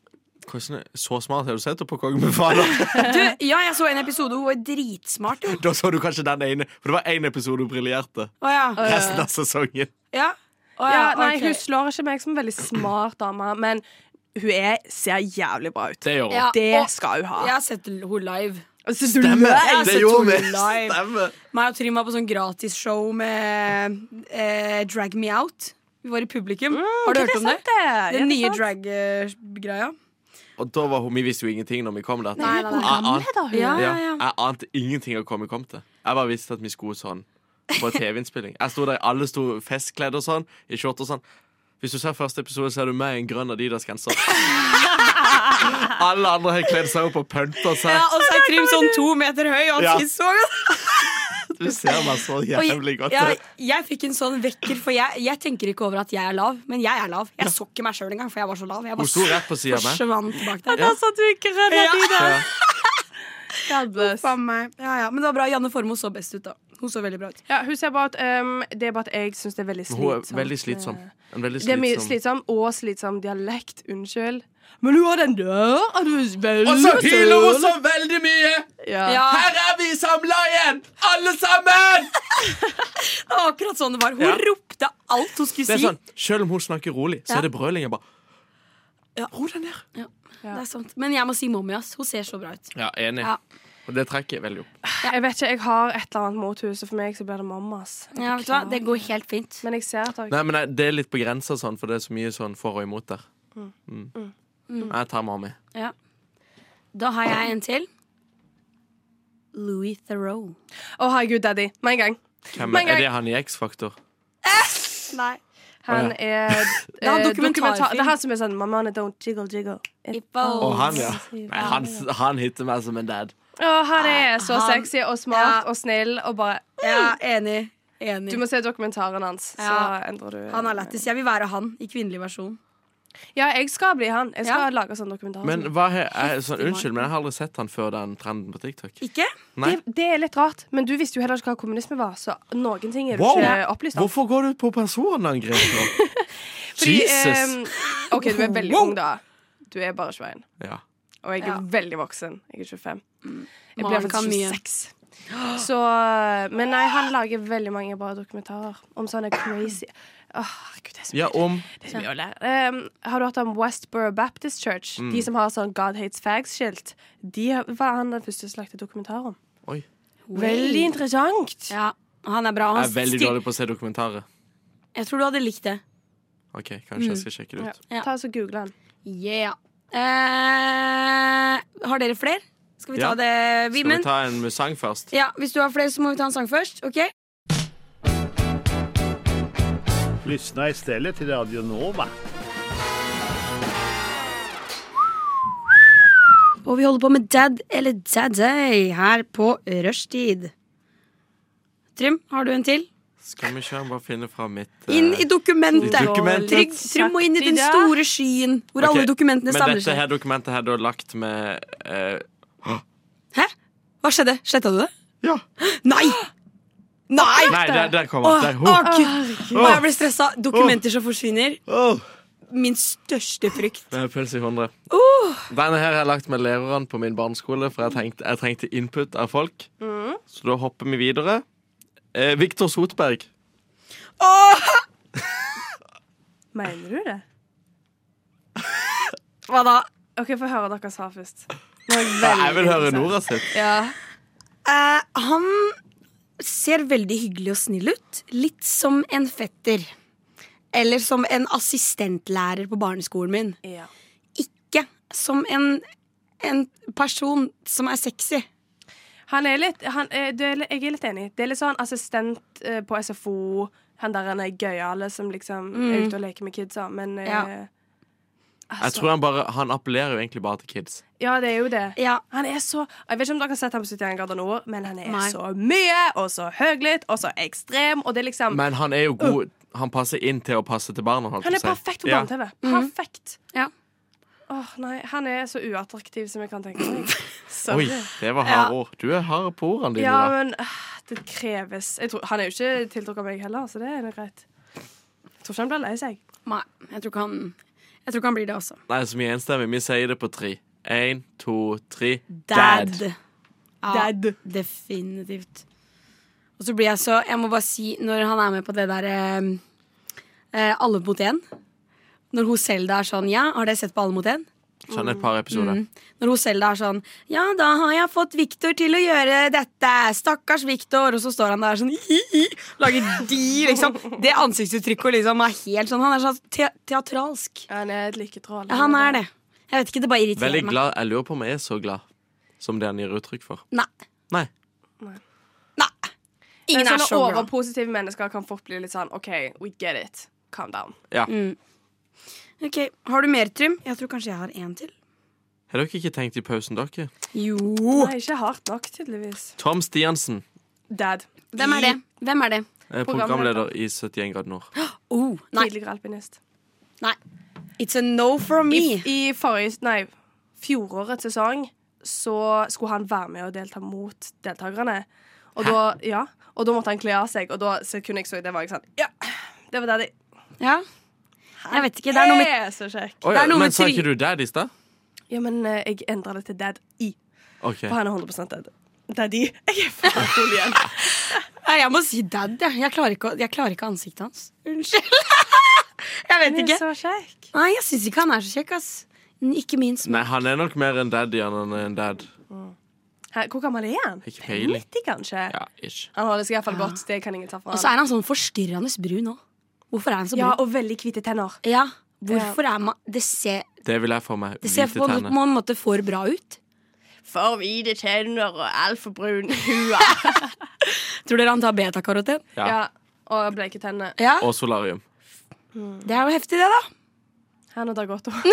S1: Hvordan, er- så smart har du sett henne på Kongen befaler?
S4: Du, ja, jeg så en episode. Hun var dritsmart, jo.
S1: da så du kanskje den ene, for det var én episode hun briljerte.
S4: Å ja.
S1: Resten av sesongen.
S4: ja. Å, ja,
S5: Ja, nei,
S4: ok.
S5: Hun slår ikke meg som en veldig smart dame, men hun er, ser jævlig bra ut.
S1: Det gjør hun.
S4: Ja,
S5: Det
S4: og-
S5: skal hun ha. Altså,
S4: Jeg har sett henne live.
S1: Stemmer!
S4: Jeg
S1: Det
S4: ser
S1: gjorde vi!
S4: Tore live.
S1: Stemmer.
S4: Meg og Trym var på sånn gratisshow med eh, Drag Me Out. Vi var i publikum. Har du hørt om Mm, det? Den nye drag-greia.
S1: Og da var hun, Vi visste jo ingenting når vi kom dit.
S4: Nei, nei, nei.
S1: Jeg ante-
S4: Ja, ja,
S1: ja,
S4: ja.
S1: Jeg ante ingenting av hva vi kom til. Jeg bare visste at vi skulle sånn på TV-innspilling. Jeg sto der, Alle sto festkledd og sånn, i shorts og sånn. Hvis du ser første episode, så er du med i en grønn Adidas-genser. alle andre har kledd seg opp og pynta
S4: Ja,
S1: seg.
S4: og så er Trym sånn to meter høy. Og han
S1: Ja.
S4: sier så godt
S1: Du ser meg så
S4: Og
S1: jævlig godt.
S4: jeg, jeg fikk en sånn vekker, for jeg, jeg tenker ikke over at jeg er lav. Men jeg er lav. Jeg så ikke meg sjøl engang, for jeg var så lav. Jeg
S1: Hun
S4: bare
S1: sto rett på sida av meg.
S4: forsvant bak der.
S5: Altså, du er grønn av de der.
S1: Ja.
S5: God bless.
S4: Faen meg. Ja, ja. Men det var bra. Janne Formoe så best ut, da. Hun så veldig bra ut.
S5: Ja, hun ser bare at um, Det er bare at jeg syns det er veldig
S1: Men
S5: slitsomt. Eh,
S1: Hun er veldig slitsom. En veldig
S5: Det er mye
S1: slitsom.
S5: slitsom og slitsom dialekt. Unnskyld. Men hun har den der at hun er veldig
S1: så veldig mye!
S5: Ja.
S4: Ah.
S1: Her er vi samla igjen, alle sammen!
S4: Det var akkurat sånn det var. Hun
S1: Ja.
S4: ropte alt hun skulle
S1: Det er
S4: si.
S1: sånn, Selv om hun snakker rolig, så
S4: Ja.
S1: er det brøling. Jeg bare Ro deg ned.
S4: Det er sant. Men jeg må si mommy, ass. Hun ser så bra ut.
S1: Ja, enig.
S4: Ja.
S1: Og det trekker jeg veldig opp.
S5: Jeg vet ikke, jeg har et eller annet mot huset. For meg så blir det mamma. ass. Jeg
S4: Ja, vet du hva?
S5: beklager.
S4: Det går helt fint.
S5: Men jeg ser at dere
S1: Nei, men det- det er litt på grensa sånn, for det er så mye sånn for og imot der. Mm. Jeg tar Mami.
S4: Ja. Da har jeg en til. Louis Theroux.
S5: Å, herregud, daddy. Med en gang.
S1: Hvem
S5: Men
S1: er,
S5: jeg-
S1: er det han i X-Faktor?
S4: Nei.
S5: Han
S1: Å,
S4: Det er
S5: er
S4: han
S5: eh,
S4: dokumentarfilm.
S5: dokumentar- Det er han som er sånn My money don't jiggle jiggle. It
S4: falls.
S1: Å, han, ja.
S5: falls."
S1: Nei, han, han hitter meg som en dad.
S5: Å, Ah, han er så
S4: Han-
S5: sexy og smart
S4: Ja.
S5: og snill og bare
S4: Ja, enig.
S5: Du
S4: Enig.
S5: må se dokumentaren hans, så
S4: Ja.
S5: endrer du
S4: Han er lættis. Jeg vil være han i kvinnelig versjon.
S5: Ja, jeg skal bli han. Jeg skal
S4: Ja.
S5: lage sånn dokumentar.
S1: Men hva he, jeg, sånn,
S4: Heftig,
S1: Unnskyld, men jeg har aldri sett han før den trenden på TikTok.
S4: Ikke?
S1: Nei.
S5: det, det er litt rart, men du visste jo heller ikke hva kommunisme var, så noen ting er du
S1: Wow.
S5: ikke opplyst om.
S1: Hvorfor går du på personangrep nå? Jesus!
S5: ehm, OK, du er veldig ung, da. Du er bare 21.
S1: Ja.
S5: Og jeg er
S4: Ja.
S5: veldig voksen. Jeg er 25.
S4: Maren
S5: Jeg blir
S4: kan
S5: faktisk
S4: mye.
S5: 26. Så, eh, men nei, han lager veldig mange bra dokumentarer om sånne crazy Åh, herregud, det er så mye,
S1: ja, om
S5: det er så mye å lære. Um, har du hørt om Westboro Baptist Church?
S1: Mm.
S5: De som har sånn God Hates Fags-skilt. De var han den første som lagde dokumentar om.
S1: Oi.
S5: Veldig interessant.
S4: Ja, han er bra. Han
S1: Jeg er veldig
S4: stil-
S1: dårlig på å se dokumentarer.
S4: Jeg tror du hadde likt det.
S1: OK, kanskje jeg skal sjekke det ut.
S5: Mm. Ja. Ta og så Google han.
S4: Yeah. Eh, har dere flere? Skal vi
S1: Ja.
S4: ta det?
S1: Skal
S4: Vi,
S1: vi
S4: men,
S1: ta en sang først?
S4: ja, hvis du har flere, så må vi ta en sang først. Ok?
S9: Lyssna istället till Radio Nova.
S4: Og vi holder på med Dad eller Daddy her på rushtid. Trym, har du en til?
S1: Skal vi se, bare finne fra mitt eh,
S4: Inn i dokumentet!
S1: I dokumentet.
S4: Trygg, Trym må inn i den
S5: Ja.
S4: store skyen hvor alle
S1: Ok,
S4: dokumentene
S1: Men
S4: samler
S1: dette
S4: seg.
S1: her dokumentet her da lagt med eh,
S4: Hæ? Hva skjedde? Sletta du det?
S1: Ja.
S4: Nei! Nei!
S1: Nei, der, der kom
S4: Åh,
S1: han. Der.
S4: åh,
S1: Ho.
S4: Gud. Åh, jeg ble stressa. Dokumenter som forsvinner. Min største frykt.
S1: Det er Pølse i 100. Denne her har jeg lagt med læreren på min barneskole, for jeg tenkte, jeg trengte input av folk.
S5: Mm.
S1: Så da hopper vi videre. Eh, Viktor Sotberg.
S5: Mener du det?
S4: Hva da?
S5: OK, få høre dere sa først.
S1: Ja, jeg vil høre Nora sitt.
S5: Ja.
S4: Eh, han ser veldig hyggelig og snill ut. Litt som en fetter. Eller som en assistentlærer på barneskolen min.
S5: ja.
S4: Ikke som en, en person som er sexy.
S5: Han er litt han, er- det er, litt- Jeg er litt enig. Det er litt sånn assistent eh, på SFO. Han der han er gøyale som liksom er ute og leker med kidsa, men eh,
S4: Mm.
S5: altså,
S4: Ja.
S1: Jeg tror han bare, han appellerer jo egentlig bare til kids.
S5: ja, det er jo det.
S4: Ja,
S5: Han er så Jeg vet ikke om dere har sett ham på 71 grader nord, men han er
S4: Nei.
S5: så mye og så høylytt og så ekstrem, og det er liksom
S1: Men han er jo god. Han passer inn til å passe til barna. holdt
S5: Uh. Han er
S1: jeg på å si.
S5: perfekt på
S1: Ja.
S5: barne-TV. Perfekt.
S4: Mhm. Ja.
S5: Åh, nei, Han er så uattraktiv som jeg kan tenke meg.
S1: Oi,
S5: Sorry.
S1: det var harde ord. Du er hard på ordene dine.
S5: Ja,
S1: da.
S5: men øh, det kreves jeg tror, Han er jo ikke tiltrukket av meg heller, så det er nå greit. Jeg tror ikke han blir lei seg.
S4: nei, jeg tror ikke han, jeg tror ikke han blir det også.
S1: Nei, så vi er enstemmige. Vi sier det på tre. Én, to, tre.
S4: Ja, Definitivt. Og så blir jeg så Jeg må bare si, når han er med på det der eh, eh, Alle mot én Når hun Selda er sånn Ja, har dere sett på Alle mot én?
S1: Sånn et par episoder.
S5: Mm.
S4: Når hun Selda er sånn Ja, da har jeg fått Victor til å gjøre dette. Stakkars Victor. Og så står han der sånn hi, hi, Lager de, liksom. Det ansiktsuttrykket og liksom er helt sånn Han er sånn te teatralsk.
S5: Han er et lykketrål.
S4: Ja, han er det. Jeg vet ikke, det bare irriterer
S1: Veldig
S4: meg.
S1: glad. Jeg lurer på om jeg er så glad som det han gir uttrykk for.
S4: Nei.
S1: Nei.
S4: Nei. Ingen er så glad.
S5: overpositive mennesker kan fort bli litt sånn OK, we get it. Calm down.
S1: Ja.
S4: Ok, Har du mer, Trym? Jeg tror kanskje jeg har en til.
S1: Har dere ikke tenkt i pausen, dere?
S4: Jo.
S5: Nei, ikke hardt nok, tydeligvis.
S1: Tom Stiansen,
S5: Dad.
S4: Hvem er det? Hvem er det?
S1: eh, programleder i 71 grader nord.
S4: Oh, nei.
S5: Tidligere alpinist.
S4: nei. It's a no from
S5: I,
S4: me.
S5: I forrige Nei, fjorårets sesong så skulle han være med og delta mot deltakerne. Og da, ja, og da måtte han kle av seg, og da sekundet jeg så det, var jeg sånn Ja, det var daddy.
S4: Ja. Jeg vet ikke. Det er noe med
S5: så kjekk.
S1: Oi,
S4: Det er noe
S1: men
S4: med
S1: sa
S4: tri-
S1: ikke du dad i stad?
S5: Ja, men eh, jeg endra det til dad i.
S1: OK.
S5: For han er 100 dad. Daddy. Jeg er faen full igjen.
S4: Nei, Jeg må si dad, jeg. Jeg klarer ikke, å- jeg klarer ikke ansiktet hans. Unnskyld. Jeg vet
S5: Han er
S4: ikke.
S5: så kjekk.
S4: Nei, jeg syns ikke han er så kjekk, ass. Ikke minst.
S1: Nei, han er nok mer en daddy enn han er en dad.
S5: Hæ, Hvor gammel er han?
S1: Ikke peiling.
S5: 90, kanskje?
S1: Ja, ish.
S5: Han holder seg iallfall godt. Det kan ingen ta fra
S4: Og så
S5: ham.
S4: er han sånn forstyrrende brun òg. Hvorfor er han så
S5: Ja,
S4: brun?
S5: og veldig hvite tenner.
S4: Ja, hvorfor er man Det ser,
S1: Det vil jeg for meg.
S4: det ser
S1: Hvite
S4: på en
S1: tenner.
S4: måte for bra ut.
S5: For hvite tenner og altfor brun hue.
S4: Tror dere han tar betakaroten?
S1: Ja.
S5: ja. Og bleke tenner.
S4: Ja,
S1: Og solarium.
S4: det er jo heftig, det, da.
S5: Han har godt ord.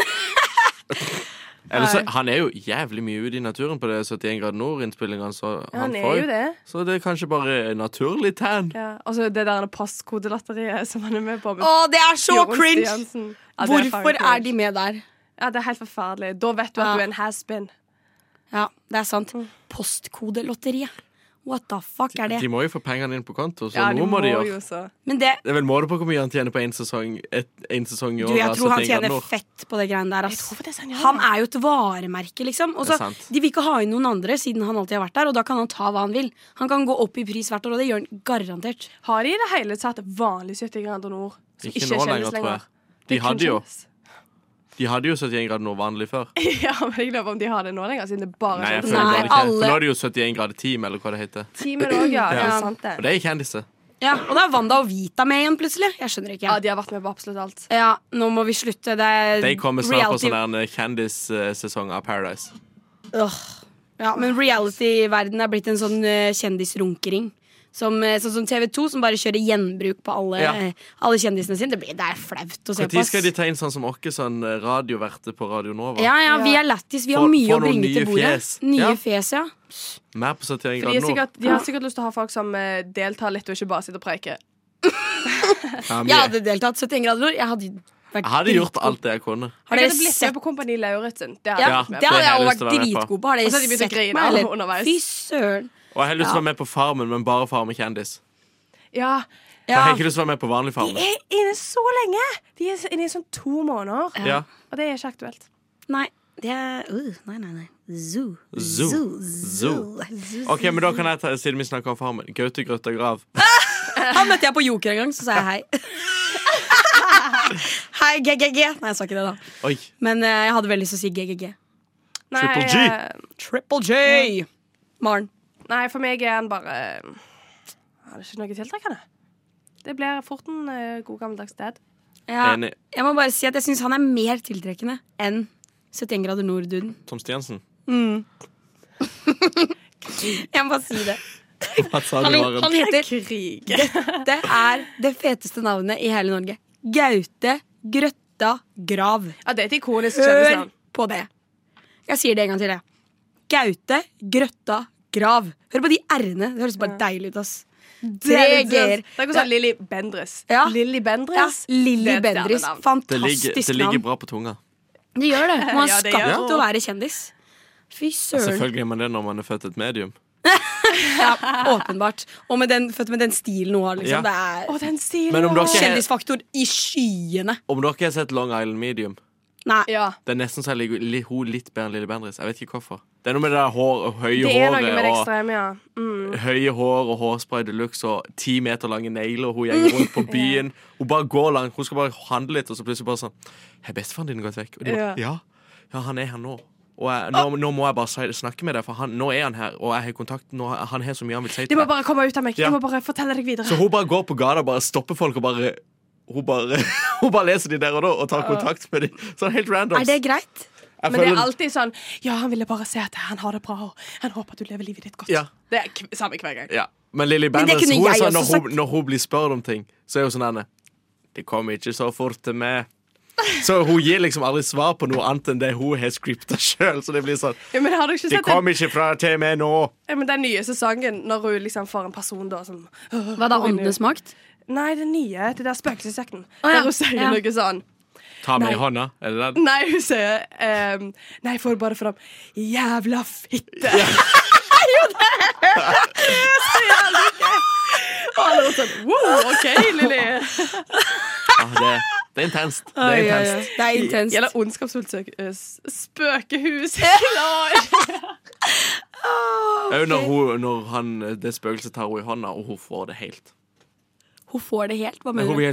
S1: Eller så, han er jo jævlig mye ute i naturen på det 71 grader nord-innspillingene, så han,
S5: Han er
S1: får
S5: jo
S1: jo
S5: det.
S1: Så det er kanskje bare naturlig tan.
S5: Ja. Altså det der postkodelatteriet som han er med på. med
S4: Å, det er så
S5: Jorunn
S4: cringe!
S5: Stiansen. Ja, det er faen
S4: Hvorfor
S5: cringe.
S4: er de med der?
S5: Ja, det er helt forferdelig. Da vet du at
S4: Ja.
S5: du er en has-been.
S4: Ja, det er sant.
S5: Mm.
S4: Postkodelotteriet. What the fuck er det?
S1: De må jo få pengene inn på konto, så
S5: Ja, du
S1: noe må de gjøre.
S5: jo så.
S4: Men det
S1: Det er vel måte på hvor mye han tjener på én sesong, et, en sesong i
S4: du,
S1: året.
S4: jeg tror han
S1: 71 grader
S4: tjener
S1: nord.
S4: fett på det greiene der.
S5: Jeg
S4: Ass.
S5: tror det er sånn, ja.
S4: Han er jo et varemerke, liksom. Og
S1: Det
S4: så,
S1: er sant.
S4: de vil ikke ha inn noen andre, siden han alltid har vært der. Og da kan han ta hva han vil. Han kan gå opp i pris hvert år, og det gjør han garantert.
S5: Har de i det hele tatt vanlig 70 grader nord? Som ikke,
S1: Ikke
S5: er
S1: nå
S5: kjendis
S1: lenger, tror jeg. De hadde jo, de hadde jo 71 grader nord vanlig før.
S5: Ja, men jeg lurer på om de har det nå lenger, siden det er sånn bare
S1: Nei, jeg
S5: kjendis.
S1: føler
S4: Nei,
S1: bare ikke.
S4: alle-
S1: For nå er det jo 71 grader team, eller hva det heter.
S5: Teamet også, ja. Det
S1: Ja.
S5: er sant,
S1: Og
S5: det.
S1: det er kjendiser.
S4: Ja, Og da er Wanda og Vita med igjen, plutselig. Jeg skjønner ikke.
S5: Ja,
S4: Ja,
S5: de har vært med på absolutt alt.
S4: nå må vi slutte. Det er
S1: De kommer snart på
S4: reality-
S1: sånn der kjendissesong av Paradise.
S4: Åh. Ja, men reality-verdenen er blitt en sånn eh, kjendisrunkering. Som, eh, sånn som TV2, som bare kjører gjenbruk på alle,
S1: Ja.
S4: eh, alle kjendisene sine. Det, blir, det er flaut å se på.
S1: Når
S4: ass.
S1: skal de ta inn sånn som oss, sånn radioverte på Radio Nova?
S4: Ja, ja, vi er lættis. Vi har
S1: Få-
S4: mye
S1: få
S4: å
S1: noen
S4: bringe til
S1: nye
S4: bordet.
S1: fjes.
S4: Nye
S1: Ja.
S4: fjes, ja.
S1: Mer på 71
S5: For de, er
S1: grader nord.
S5: sikkert, de har sikkert lyst til å ha folk som eh, deltar litt, og ikke bare sitter og preiker.
S1: Ja, mye.
S4: Jeg hadde deltatt 71 grader nord. Jeg hadde
S1: Jeg
S4: vært
S1: hadde gjort
S4: dritgod.
S1: alt det jeg kunne.
S4: Har
S5: Jeg
S4: dere
S5: hadde blitt
S4: sett
S5: med på Kompani Lauritzen.
S4: ja,
S5: Det hadde jeg vært med
S4: det
S5: på.
S1: har
S4: hadde
S1: jeg
S4: jeg jo
S1: lyst
S4: vært
S1: til å være med på.
S4: dritgod på. Har
S5: Og så
S4: dere
S5: hadde de begynt å
S4: sett
S5: grine
S4: meg, eller?
S5: underveis.
S4: Fy søren.
S1: Og jeg har lyst til å være med på Farmen, men bare Farmen kjendis.
S5: Ja.
S1: Jeg
S4: Ja.
S1: har ikke lyst til å være med på vanlig
S5: De
S1: Farmen.
S5: er inne så lenge! De er inne i sånn to måneder.
S1: Ja.
S5: Og det er ikke aktuelt.
S4: Nei. Det er uh, Nei, nei, nei. Zoo.
S1: Zoo. Zoo. OK, men da kan jeg ta Siden vi snakker om Farmen. Gaute Grøtta Grav.
S4: Han møtte jeg på Joker en gang, så sa jeg hei. hei, GGG. Nei, jeg sa ikke det, da.
S1: Oi.
S4: Men eh, jeg hadde veldig lyst til å si GGG.
S5: Nei,
S1: Triple G.
S5: eh,
S4: Triple J!
S5: Mm.
S4: Maren.
S5: Nei, for meg er han bare Han er ikke noe tiltrekkende. Det blir fort en eh, god gammeldags dad.
S4: Ja,
S1: Enig.
S4: jeg må bare si at jeg syns han er mer tiltrekkende enn 71 grader nord-duden.
S1: Tom Stiansen.
S4: Jeg må bare si det.
S1: Hva sa du,
S4: Han,
S1: Maren?
S4: han heter Dette er det feteste navnet i hele Norge. Gaute Grøtta Grav.
S5: Ja, det er et ikonisk
S4: Hør
S5: kjendisnavn.
S4: på det. Jeg sier det en gang til, jeg. Gaute Grøtta Grav. Hør på de r-ene. Det høres bare deilig ut, ass. Tre g-er.
S5: Det er ikke sånn Lilly Bendriss.
S4: Ja.
S5: Lilly
S4: Ja,
S5: Bendriss. Det
S4: Lilly
S5: er et
S4: Bendriss.
S5: stjernenavn.
S1: Det ligger,
S4: Fantastisk
S1: det ligger
S4: navn.
S1: bra på tunga.
S4: Det gjør det. Man
S5: Ja,
S4: er
S5: det gjør
S4: skapt
S5: det.
S4: til å være kjendis. Fy søren.
S1: Selvfølgelig er man det når man er født et medium.
S4: Ja, åpenbart. Og med den, født med den stilen hun har, liksom.
S1: Ja.
S5: Å,
S4: Det
S5: den stilen!
S1: Men om
S5: da-
S1: dere,
S4: er kjendisfaktor i skyene.
S1: om dere har sett Long Island Medium
S4: Nei.
S5: Ja.
S1: Det er nesten så jeg liker li- hun litt bedre enn Lille Bendriss. Jeg vet ikke hvorfor. Det er noe med det der hår, høye
S5: Det er noe med det
S1: håret og
S5: ekstreme, ja. Mm.
S1: høye hår og hårspray de luxe og ti meter lange negler. Hun går rundt på byen. Hun bare går langt. Hun skal bare handle litt, og så plutselig bare sånn Har bestefaren din gått vekk? Og de bare, ja. ja, han er her nå. Og jeg, nå, nå må jeg bare si- snakke med deg, for han, nå er han her, og jeg har kontakt nå, Han har så mye han vil si
S5: Det
S1: til
S5: må
S1: meg.
S5: bare komme ut av meg.
S1: Ja.
S5: Jeg må bare fortelle deg videre.
S1: Så hun bare går på gata og bare stopper folk og bare Hun bare, hun bare leser de der og da og tar kontakt med de. Sånn helt random.
S4: Er det greit?
S1: Jeg
S5: Men det er
S1: føler-
S5: alltid sånn Ja, han ville bare se at han har det bra, og han håper at du lever livet ditt godt.
S1: Ja.
S5: Det er kv samme hver gang.
S1: Ja. Men Lilly
S4: det
S1: Bendriss,
S4: kunne
S1: hun er
S4: jeg
S1: sånn, når,
S4: også
S1: hun-
S4: sagt.
S1: når hun blir spurt om ting, så er hun sånn henne Det kommer ikke så fort til meg. Så hun gir liksom aldri svar på noe annet enn det hun har scripta sjøl. Så det blir sånn
S5: Ja, men har du ikke
S1: Det
S5: sett den,
S1: kom ikke fra til meg nå.
S5: ja, men den nye sesongen, når hun liksom får en person da som
S4: Hva da, åndenes makt?
S5: Nei, det nye. Det der spøkelsessekten.
S4: Å, ja.
S5: Der hun sier
S4: Ja.
S5: noe sånn
S1: Ta meg i hånda. Er det den?
S5: Nei, hun sier ehm, Nei, jeg får bare fram Jævla fitte! Er jo det! Så jævlig gøy. Og alle var sånn Wow, OK, Lilly.
S1: Ja, Ah, det, det er intenst. Det er
S4: Oi, oi,
S1: intenst.
S4: oi. Det er intenst.
S5: Gjelder ondskapsfullt søk- eh, s- spøkehus. Klar.
S1: Au, Når, hun, når han, det spøkelset tar henne i hånda, og hun får det helt.
S4: Hun får det helt. Hva
S1: Hun
S4: mener du?
S1: blir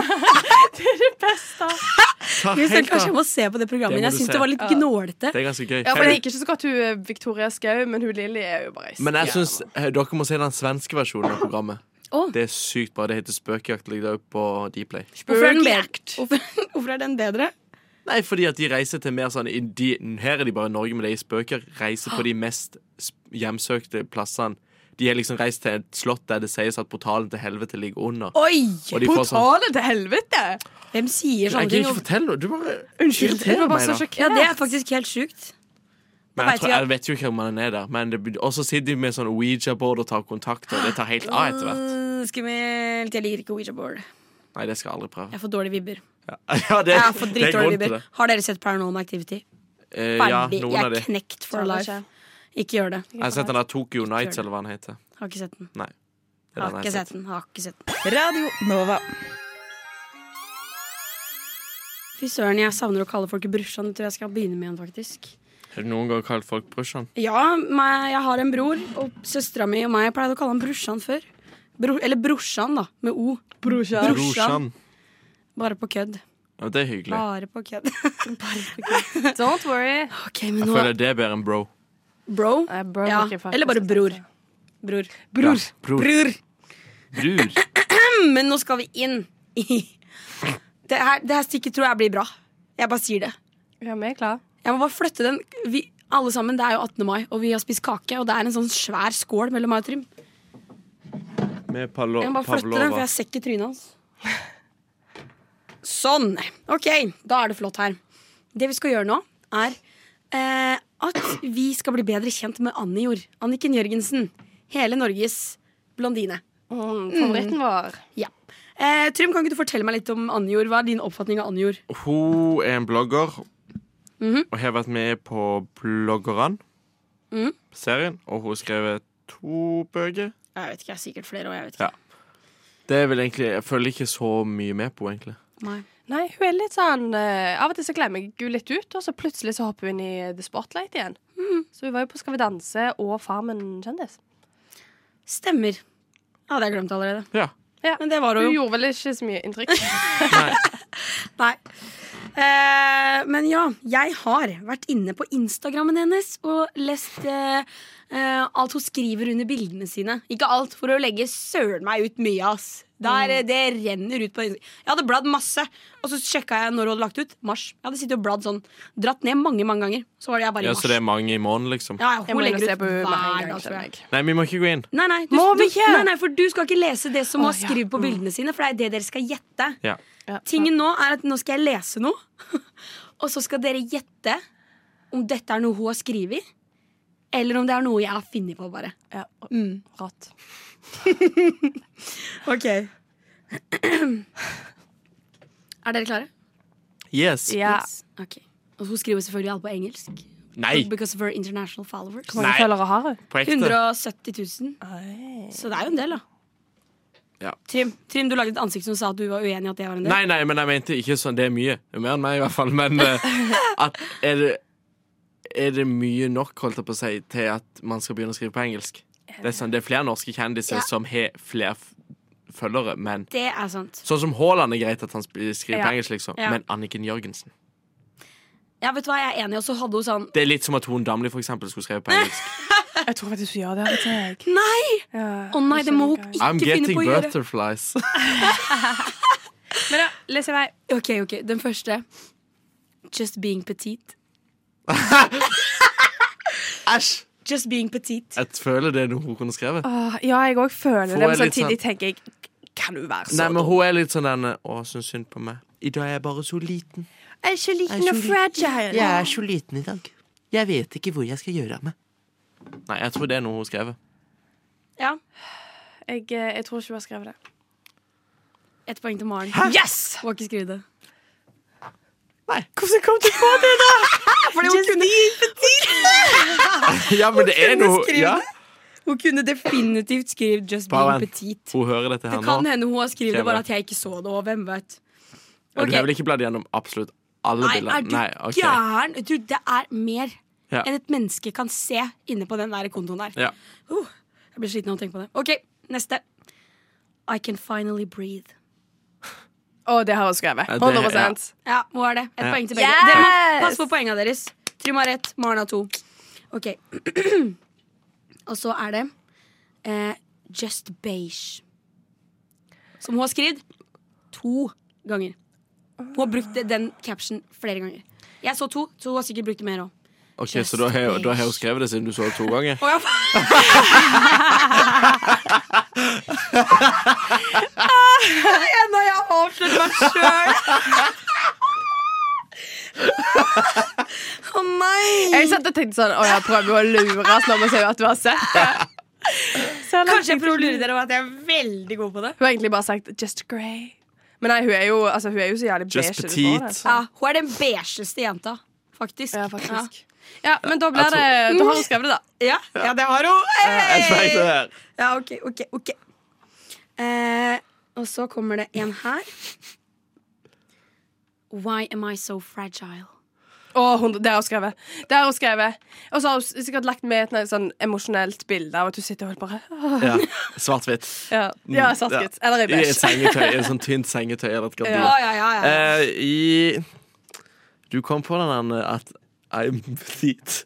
S1: helt sånn Ta
S4: Vi
S1: helt
S4: kanskje jeg
S1: av.
S4: må se på det
S1: Det
S4: programmet.
S1: må
S4: Jeg
S1: du
S4: syns
S1: se.
S4: det var litt
S5: Ja.
S4: gnålete.
S1: Det er ganske gøy.
S5: Ja, for Jeg liker ikke så godt hun eh, Victoria Skau, men hun Lilly er jo bare
S1: Men jeg syns eh, dere må se den svenske versjonen av programmet.
S4: Å.
S1: Det er sykt bra. Det heter Spøkejakt. Ligger det også på Dplay.
S4: Hvorfor er den bedre? Hvorfor, hvorfor er den bedre?
S1: Nei, fordi at de reiser til mer sånn i de, Her er de bare i Norge, men de er i spøker. Reiser på de mest sp- hjemsøkte plassene. De er liksom reist til et slott der det sies at portalen til helvete ligger under.
S4: Oi!
S1: Og de får sånn
S5: til helvete!
S4: Hvem sier
S1: Jeg
S4: sånne
S1: kan
S4: ting?
S1: ikke fortelle noe. Du bare
S5: Unnskyld. Jeg
S1: irriterer
S5: var
S1: meg,
S5: bare
S1: da.
S5: så
S4: Ja,
S5: sjokkert.
S4: det er faktisk helt sjukt.
S1: Men jeg,
S4: vet
S1: tror,
S4: vi at-
S1: jeg vet jo ikke om han er der. Men det, blir- også sitter de med sånn Ouija-board og tar kontakt, og det tar helt av etter hvert.
S4: Mm, Skummelt. Jeg liker ikke Ouija board.
S1: Nei, det skal jeg aldri prøve.
S4: Jeg får dårlige vibber.
S1: Ja, det,
S4: Jeg har fått
S1: det er
S4: dritdårlige
S1: grunnen til
S4: vibber.
S1: det.
S4: Har dere sett Paranormal Activity?
S1: Eh, ja,
S4: Ferdig.
S1: noen
S4: jeg
S1: av de.
S4: er knekt for
S5: Tar det
S4: life. Ikke gjør det.
S1: Jeg har sett den der Tokyo Nights, eller hva den heter.
S4: Har ikke sett den.
S1: Nei. Det er
S4: Har
S1: den jeg
S4: ikke
S1: har
S4: sett den. Har ikke sett den.
S8: Radio Nova.
S4: Fy søren, jeg savner å kalle folk brorsan. Det tror jeg skal begynne med igjen, faktisk.
S1: Har du noen gang kalt folk brorsan?
S4: Ja, meg, jeg har en bror, og søstera mi og meg jeg pleide å kalle han brorsan før. Bro, eller brorsan, da, med O. Brorsan. Bare på kødd.
S1: Ja, det er hyggelig.
S4: Bare på kødd.
S5: Don't worry.
S4: OK, men
S1: Jeg
S4: nå
S1: føler det er bedre enn bro.
S4: Bro.
S5: Nei, Eh, bro
S4: Ja.
S5: liker jeg faktisk
S4: Eller bare
S5: ikke.
S4: bror. Bror.
S1: Bror. Bror.
S4: Bror.
S1: Bror.
S4: Men nå skal vi inn i Det her, det her stykket tror jeg blir bra. Jeg bare sier det.
S5: Ja, vi er klar.
S4: Jeg må bare flytte den. Vi, alle sammen, Det er jo 18. mai, og vi har spist kake. Og det er en sånn svær skål mellom meg og Trym.
S1: Med Palo
S4: Jeg må bare flytte den, for
S1: Pavlova.
S4: jeg ser ikke trynet hans. Sånn. OK, da er det flott her. Det vi skal gjøre nå, er eh, at vi skal bli bedre kjent med Annie-jord. Anniken Jørgensen. Hele Norges blondine.
S5: Mm, favoritten vår.
S4: Ja. Eh, Trym, kan ikke du fortelle meg litt om Annie-jord? Hva er din oppfatning av Annie-jord?
S1: Hun er en blogger og har vært med på Bloggerne,
S4: Mhm.
S1: serien, og hun har skrevet to bøker.
S4: Jeg vet ikke, jeg er sikkert flere år, jeg vet
S1: Ja. Det er vel egentlig, Jeg følger ikke så mye med på henne, egentlig.
S4: Nei.
S5: Nei, hun er litt sånn eh, Av og til så glemmer jeg hun litt ut, og så plutselig så hopper hun inn i The Spotlight igjen. Så hun var jo på Skal vi danse og Farmen kjendis.
S4: Stemmer. Ja, det har jeg glemt allerede.
S1: Ja.
S5: Ja.
S4: Men det var
S5: Hun
S4: hun jo.
S5: gjorde vel ikke så mye inntrykk.
S4: Nei. Eh, men ja, jeg har vært inne på Instagrammen hennes og lest eh, eh, alt hun skriver under bildene sine. Ikke alt, for å legge søren meg ut mye, ass. Der, eh,
S5: Mm.
S4: Det renner ut på Insta- Jeg hadde bladd masse, og så sjekka jeg når hun hadde lagt ut. Mars. Jeg hadde sittet og bladd sånn. Dratt ned mange, mange ganger. Så var det jeg bare i
S1: ja,
S4: mars.
S1: Så det er mange i måneden, liksom?
S4: ja, ja,
S5: Jeg
S4: hun
S5: må inn og
S4: legger
S5: se
S4: ut
S5: på henne med
S4: hver
S5: en gang.
S4: dag, tror jeg.
S5: skjønner jeg.
S1: Nei, vi må ikke gå inn.
S4: Nei, nei, du,
S5: Må vi
S4: du,
S5: ikke?
S4: nei, nei, for du skal ikke lese det som
S5: Å,
S4: hun har
S5: ja. Mm.
S4: skrevet på bildene sine. For det er det dere skal gjette.
S1: Ja.
S5: Ja.
S4: Tingen nå er at nå skal jeg lese noe, og så skal dere gjette om dette er noe hun har skrevet, eller om det er noe jeg har funnet på, bare.
S5: Ja. Rått.
S4: Ok Er dere klare?
S1: Yes.
S5: Ja.
S4: Yes. Ok. Og hun skriver selvfølgelig alt på engelsk.
S1: Nei,
S4: Because of her international followers.
S5: Hvor mange
S1: Nei.
S5: følgere har hun?
S1: på ekte.
S4: 170 000. Så det er jo en del, da.
S1: Ja.
S4: Trym, Trym, du lagde et ansikt som sa at du var uenig i at det var en del.
S1: Nei, nei, men jeg mente ikke sånn. Det er mye. Det er Mer enn meg, i hvert fall. Men eh, at er det, er det mye nok, holdt jeg på å si, til at man skal begynne å skrive på engelsk? Det er, sånn, det er flere norske kjendiser
S4: Ja.
S1: som har flere f- følgere, men
S4: Det er sant.
S1: Sånn som Haaland er greit at han sp- skriver
S5: Ja.
S1: på engelsk, liksom.
S4: Ja.
S1: Men Anniken Jørgensen
S4: Ja, vet du hva, jeg er enig, og så hadde hun sånn
S1: Det er litt som at Tone Damli for eksempel, skulle skrevet på engelsk.
S5: Jeg tror faktisk hun gjør det. av og til, jeg.
S4: Nei!
S5: Ja.
S4: Å nei, det må hun
S5: Skjønner
S4: ikke
S1: I'm
S4: finne
S1: getting
S4: på å gjøre.
S1: butterflies.
S5: Men ja, les i vei.
S4: Ok, ok, den første. Just being petite.
S1: Æsj!
S4: Just being petite.
S1: Jeg føler det er noe hun kunne skrevet.
S5: Åh, ja, jeg òg føler
S1: Får
S5: det,
S1: jeg
S5: men
S1: litt sånn-
S5: samtidig tenker jeg Kan du være
S1: Nei,
S5: så
S1: men hun er litt sånn den Å, syns synd på meg. I dag er jeg bare så liten.
S5: Jeg er så liten og fragile.
S1: er så liten i dag. Jeg vet ikke hvor jeg skal gjøre av meg. Nei, jeg tror det er noe hun skrev.
S4: Ja,
S5: Jeg, eh, jeg tror ikke hun har skrevet det.
S4: Ett poeng til Maren.
S5: Yes!
S4: Hun har ikke skrevet det.
S5: Hvordan kom du på det, da?
S4: Fordi hun kunne,
S1: Ja, men det er noe ja.
S4: hun kunne definitivt skrive 'just
S1: Bare
S4: being
S1: vent.
S4: petite'.
S1: Hun hører dette her
S4: Det kan
S1: nå.
S4: hende hun har skrevet det,
S1: Skrevet.
S4: bare at jeg ikke så det. Og hvem vet.
S1: Ja, Du
S4: Ok.
S1: har vel ikke bladd gjennom absolutt alle
S4: Nei, er
S1: bildene?
S4: du
S1: Nei, ok.
S4: gæren? Du, det er mer
S1: Ja.
S4: enn et menneske kan se inne på den der kontoen der.
S1: Ja.
S4: Uh, jeg blir sliten av å tenke på det. OK, neste. I Can Finally Breathe.
S5: Å, det har hun skrevet.
S1: Ja, det-
S5: 100
S4: Ja, hun er det. Et
S1: Ja.
S4: poeng til begge.
S5: Yes!
S4: Dere må passe på poengene deres. Trym har ett, Maren har to. Ok. Og så er det eh, Just Beige. Som hun har skrevet to ganger. Hun har brukt det- den captionen flere ganger. Jeg så to, så hun har sikkert brukt det mer òg.
S1: Ok, Så da har da har hun skrevet det siden du så det to ganger?
S4: Å ja, faen! Nå har jeg avslørt meg sjøl! Å nei!
S5: Jeg satt og tenkte sånn Å, jeg prøver jo å lure oss når vi sier at du har sett det. Så jeg
S4: Kanskje jeg prøver å lure dere om at jeg er veldig god på det.
S5: Hun har egentlig bare sagt 'just grey'. Men nei, hun er jo, altså, hun er jo så jævlig beige.
S1: Just
S5: du får
S1: petite.
S5: det.
S4: Ja, Hun er den beigeste jenta, faktisk.
S5: Ja, faktisk. Ja, men da blir
S1: Jeg tror-
S5: det Da har hun skrevet det, da.
S4: Ja, ja, det har hun. Hey!
S1: Jeg smakte det her.
S4: Ja, ok, ok, ok eh, Og så kommer det en her Why am I so fragile?
S5: Å, hun, det har hun skrevet. Det har hun skrevet. Og så har hun s- sikkert lagt med et noe sånn emosjonelt bilde av at du sitter og helt bare «Åh».
S1: Ja. Svart-hvitt.
S5: Ja, ja
S1: Mm. Ja.
S5: svart-hvitt. Eller i
S1: I et
S5: beige.
S1: sengetøy. I et sånt tynt sengetøy eller et gardin.
S5: Ja,
S1: Eh, I Du kom på den Anne, at I'm petite.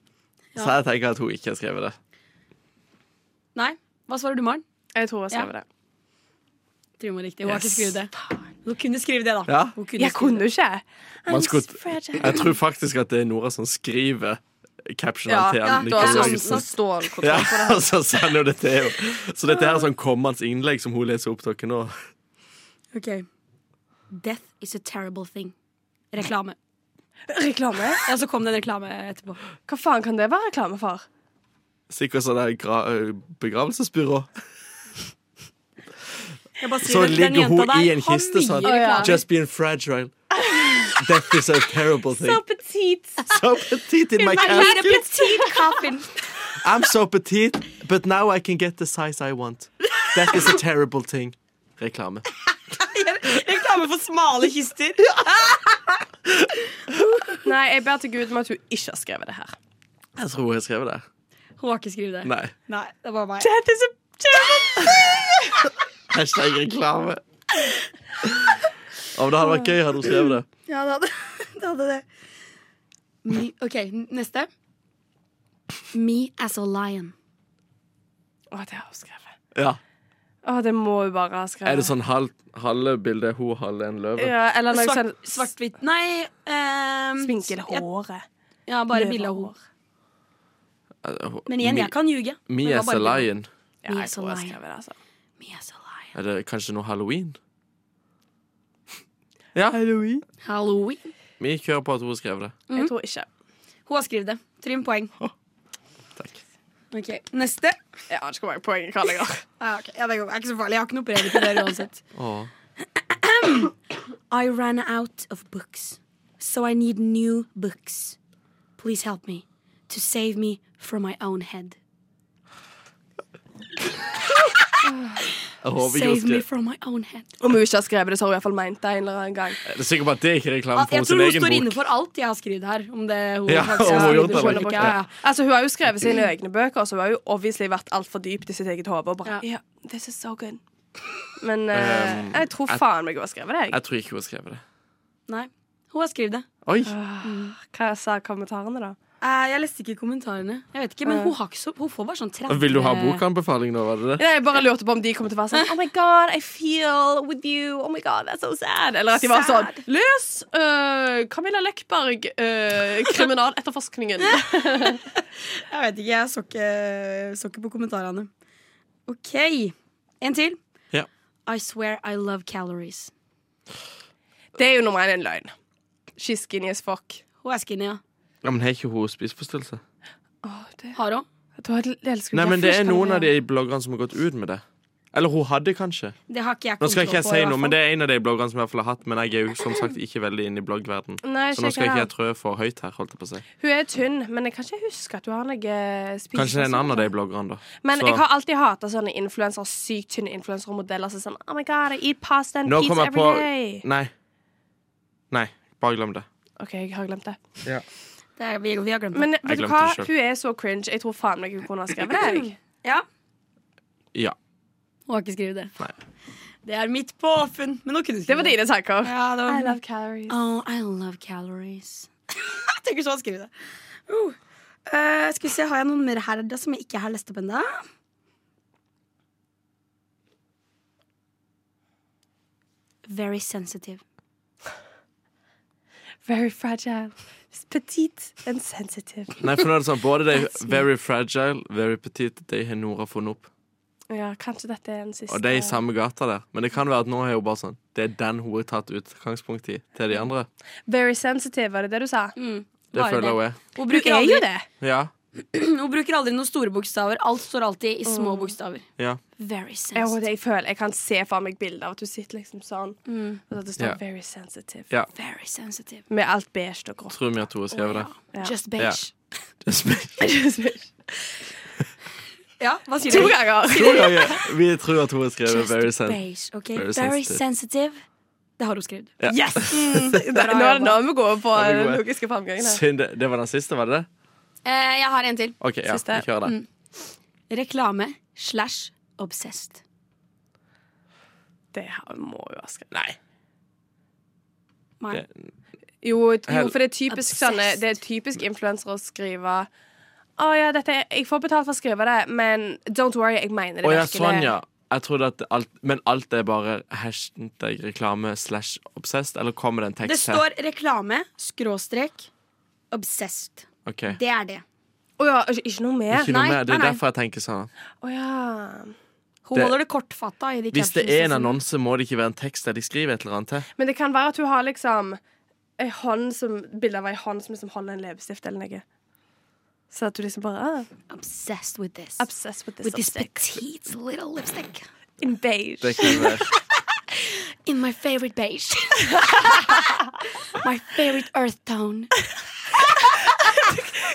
S1: Så jeg tenker at hun ikke har skrevet det.
S4: Nei, hva svarer du, Maren?
S5: Jeg tror hun har skrevet det.
S4: Trine var riktig, hun har ikke
S1: Yes.
S4: skrevet det Hun kunne skrive det da
S1: Ja.
S4: Hun kunne
S5: Jeg
S4: skrive
S5: kunne jo ikke.
S1: Man skulle, jeg tror faktisk at det er Nora som skriver captionen
S5: Ja,
S1: til
S5: ja,
S1: Anne.
S5: du har
S1: Nicolai
S5: sånn
S1: Jørgensen.
S5: sånn stålkontroll.
S1: Ja, og så sender hun det til henne. Så dette her er sånn kommende innlegg som hun leser opp til dere nå.
S4: det. Ok Death is a terrible thing Reklame
S5: Reklame?
S4: Ja, så kom det en reklame etterpå
S5: Hva faen kan det være reklame for?
S1: Sikkert sånn der gra begravelsesbyrå.
S4: Jeg bare
S1: Så
S4: skriver, den
S1: ligger hun
S4: jenta der
S1: i en
S4: har
S1: kiste sånn.
S4: mye reklame.
S1: Just being fragile. Death is a terrible thing.
S4: Så petit
S1: So petite in my
S4: Hun
S1: casket.
S4: er petit kaffen
S1: I'm so petite, but now I can get the size I want. That is a terrible thing. Reklame.
S4: Reklame for smale kister
S5: Nei, jeg ber til Gud om at hun ikke har skrevet det her.
S1: Jeg tror jeg skrev det.
S4: Hun har ikke skrevet det
S1: Nei.
S4: Nei, det var meg
S1: Hashtag reklame. Å, men det hadde vært gøy hadde hun skrevet det.
S4: Ja, det hadde det. Hadde det. Me, ok, n- neste. Me as a lion.
S5: Å, det har hun skrevet.
S1: Ja.
S5: Å, det må hun bare ha skrevet.
S1: Er det sånn halv, halve bilde hun halve en løve?
S5: Ja, eller noe sånn
S4: Svart- Svart-hvitt Nei ehm,
S5: Sminket håret.
S4: Ja, bare bilde av henne.
S1: Eh,
S4: Men igjen, jeg kan ljuge.
S1: Me
S4: Men det var
S1: as a
S4: bare bildet av
S1: lion.
S5: Ja,
S4: Me
S5: jeg
S4: as a
S5: tror jeg
S4: lion.
S5: skrev det, altså.
S4: henne. Me as a lion.
S1: Er det kanskje noe halloween? Ja. Halloween.
S4: Halloween.
S1: Vi kjører på at hun skrev det.
S5: Jeg tror ikke.
S4: Hun har skrevet det. Trym poeng.
S1: Takk.
S4: Ok, Neste.
S5: Jeg aner ikke hvor mange poeng jeg har lenger.
S4: Ja, ok. ja, det går- er ikke så farlig. Jeg har ikke noe brev til dere uansett.
S1: Å.
S4: I ran out of books, so I need new books. Please help me to save me from my own head.
S1: Jeg håper ikke hun
S4: Save me
S1: skrev
S4: from my own head.
S5: Om hun ikke har skrevet det, så har hun iallfall ment det en eller annen gang.
S1: Jeg er sikker på at det er ikke reklame for
S4: Ah, Jeg
S1: hennes
S4: tror hun står
S1: egen bok.
S4: innenfor alt jeg har skrevet her. Om det hun
S1: Ja,
S4: faktisk
S1: om hun har
S4: har skrevet
S1: gjort det eller
S4: selv,
S1: ikke.
S4: ja, ja.
S5: Altså, Hun har jo skrevet sine egne bøker, så hun har jo obviously vært altfor dypt i sitt eget hode. og bare, Ja, this is so good. Men eh,
S1: Um,
S5: jeg tror
S1: jeg-
S5: faen meg hun har skrevet det. jeg.
S1: Jeg tror ikke hun har skrevet det.
S4: Nei, hun har skrevet det.
S1: Oi!
S5: Hva sa kommentarene, da?
S4: Eh, jeg leste ikke kommentarene. Jeg vet ikke, Men hun, har ikke så, hun får bare sånn 30
S1: Eh. Vil du ha bokanbefaling nå, var det det?
S5: Nei, jeg bare lurte på om de kommer til å være sånn Oh my god, I feel with you. Oh my god, that's so sad. Eller at de var sånn Les øh, Camilla Lekberg, øh, kriminaletterforskningen.
S4: Jeg vet ikke, jeg så ikke, så ikke på kommentarene. OK, en til.
S1: Ja.
S4: I swear I love calories.
S5: Det er jo nummer én en løgn. She's skinny as fuck.
S4: Hun er skinny, ja.
S1: Ja, men Har ikke hun spiseforstyrrelse?
S4: Har hun?
S5: Du har et elsker
S1: Nei, men det er noen av de bloggerne som har gått ut med det. Eller hun hadde kanskje.
S4: Det har ikke jeg
S1: Nå skal ikke jeg
S4: kontroll på,
S1: si
S4: i hvert
S1: noe, men
S4: fall.
S1: det er en av de bloggerne som jeg i hvert fall har hatt, men jeg er jo som sagt ikke veldig inne i bloggverden.
S4: Mm.
S5: Nei,
S1: Så nå skal ikke jeg
S5: det.
S1: trø for høyt her, holdt jeg på å si.
S5: Hun er tynn, men jeg kan ikke huske at hun har noe spiseforstyrrelse.
S1: Kanskje det er en annen av de bloggerne, da.
S5: Men
S1: Så-
S5: jeg har alltid hata sånne influensere, sykt tynne influensere og modeller som er sånn Oh my god, I eat pasta and
S1: Nå
S5: pizza
S1: kommer jeg
S5: every day.
S1: på Nei. Nei, bare glem det.
S5: OK, jeg har glemt det.
S4: Det er, vi, vi har glemt det.
S5: Men vet du
S1: glemte
S5: hva?
S1: det selv.
S5: Hun er så cringe. Jeg tror faen meg hun kunne ha skrevet det. jeg.
S4: ja,
S1: Ja.
S4: hun har ikke skrevet det.
S1: Nei.
S4: Det er mitt påfunn. Men nå kunne du
S5: Det var dine tanker.
S4: Ja, det var...
S5: I love calories.
S4: Oh, I love calories. jeg tenker så å skrive det. Uh, eh, skal vi se, Har jeg noen mer her da, som jeg ikke har lest opp ennå? Very sensitive.
S5: Very fragile. Petite and sensitive.
S1: Nei, for nå er det sånn Både de very fragile, very petite, de har Nora funnet opp.
S5: Ja, kanskje dette er den siste.
S1: Og de er i samme gata der. Men det kan være at nå er hun bare sånn Det er den hun har tatt utgangspunkt i til de andre.
S5: Very sensitive, var det det du sa?
S1: Det
S4: Bare
S1: føler
S4: det.
S1: hun er.
S4: Hun
S5: Du
S4: bruker,
S5: er jo
S4: aldri,
S5: det.
S1: Ja.
S4: hun bruker aldri noen store bokstaver. Alt står alltid i små bokstaver.
S1: ja.
S4: Very
S5: Jeg,
S4: sensitive.
S5: jeg føler, jeg kan se for meg bilder av at du sitter liksom sånn. Og at det står
S1: Ja.
S5: 'very sensitive'.
S1: ja.
S4: Very sensitive.
S5: Med alt beige og grått.
S1: Tror vi at hun har skrevet det.
S5: Ja.
S4: Just beige. Ja, hva sier
S5: to
S4: du?
S5: ganger!
S1: Tror jeg, vi tror at hun har skrevet
S4: Just
S1: very sensitive.
S4: beige. ok?
S1: Very
S4: Very,
S1: sensitive.
S4: sensitive. Det har hun skrevet.
S1: Ja.
S5: Yes! Der, nå nå er vi gode på
S1: er vi
S5: den
S1: gode.
S5: logiske framgangen. her.
S1: Synd. Det, det var den siste, var det det?
S4: Eh, jeg har en til.
S1: OK, ja.
S5: Siste. Mm.
S1: Vi kjører det.
S4: Reklame slash obsessed.
S5: Det her må jo ha skrevet.
S1: Nei.
S4: Nei.
S5: Jo, jo, for det er typisk sånne
S4: Obsessed.
S5: Det er typisk influensere å skrive å ja, dette, er- jeg får betalt for å skrive det, men don't worry, jeg mener det
S1: Å ja,
S5: virkelig.
S1: sånn, ja. Jeg trodde at alt, Men alt er bare hashtag reklame slash obsessed? Eller kommer det en
S4: Det
S1: tekst her?
S4: står reklame, skråstrek, obsessed.
S1: OK.
S4: Det er det.
S5: Å ja, ikke, ikke noe mer?
S1: Ikke noe
S4: Nei,
S1: mer. Det er
S4: nei, nei.
S1: derfor jeg tenker sånn.
S5: Å ja.
S4: Hun
S1: Det-
S4: holder det kortfatta. i de liksom.
S1: Hvis det
S4: captionsene
S1: er en
S4: sine.
S1: annonse, må det ikke være en tekst der de skriver et eller annet til.
S5: Men det kan være at hun har liksom ei hånd som Bilde av ei hånd som liksom holder en leppestift eller noe. Så at du liksom bare ah,
S4: Obsessed with this.
S5: Obsessed with this,
S4: with this
S5: object.
S4: petite little lipstick.
S5: In beige.
S1: Det kan være.
S4: In my favorite beige. my favorite earth tone.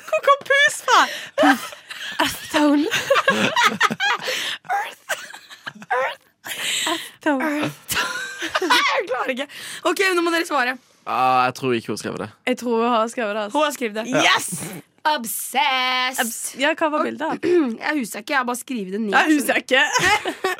S5: Hvor kom pus fra?
S4: Tone. jeg klarer ikke. Ok, Nå må dere svare.
S1: Ah, jeg tror ikke hun skrev det.
S5: Jeg tror hun har skrevet det.
S4: Hun
S5: Altså.
S4: har skrevet det.
S5: Yes!
S4: Obsessed.
S5: Abs- Ja, hva var bildet? av?
S4: jeg husker ikke. Jeg bare skriver det ned.
S5: Jeg husker ikke.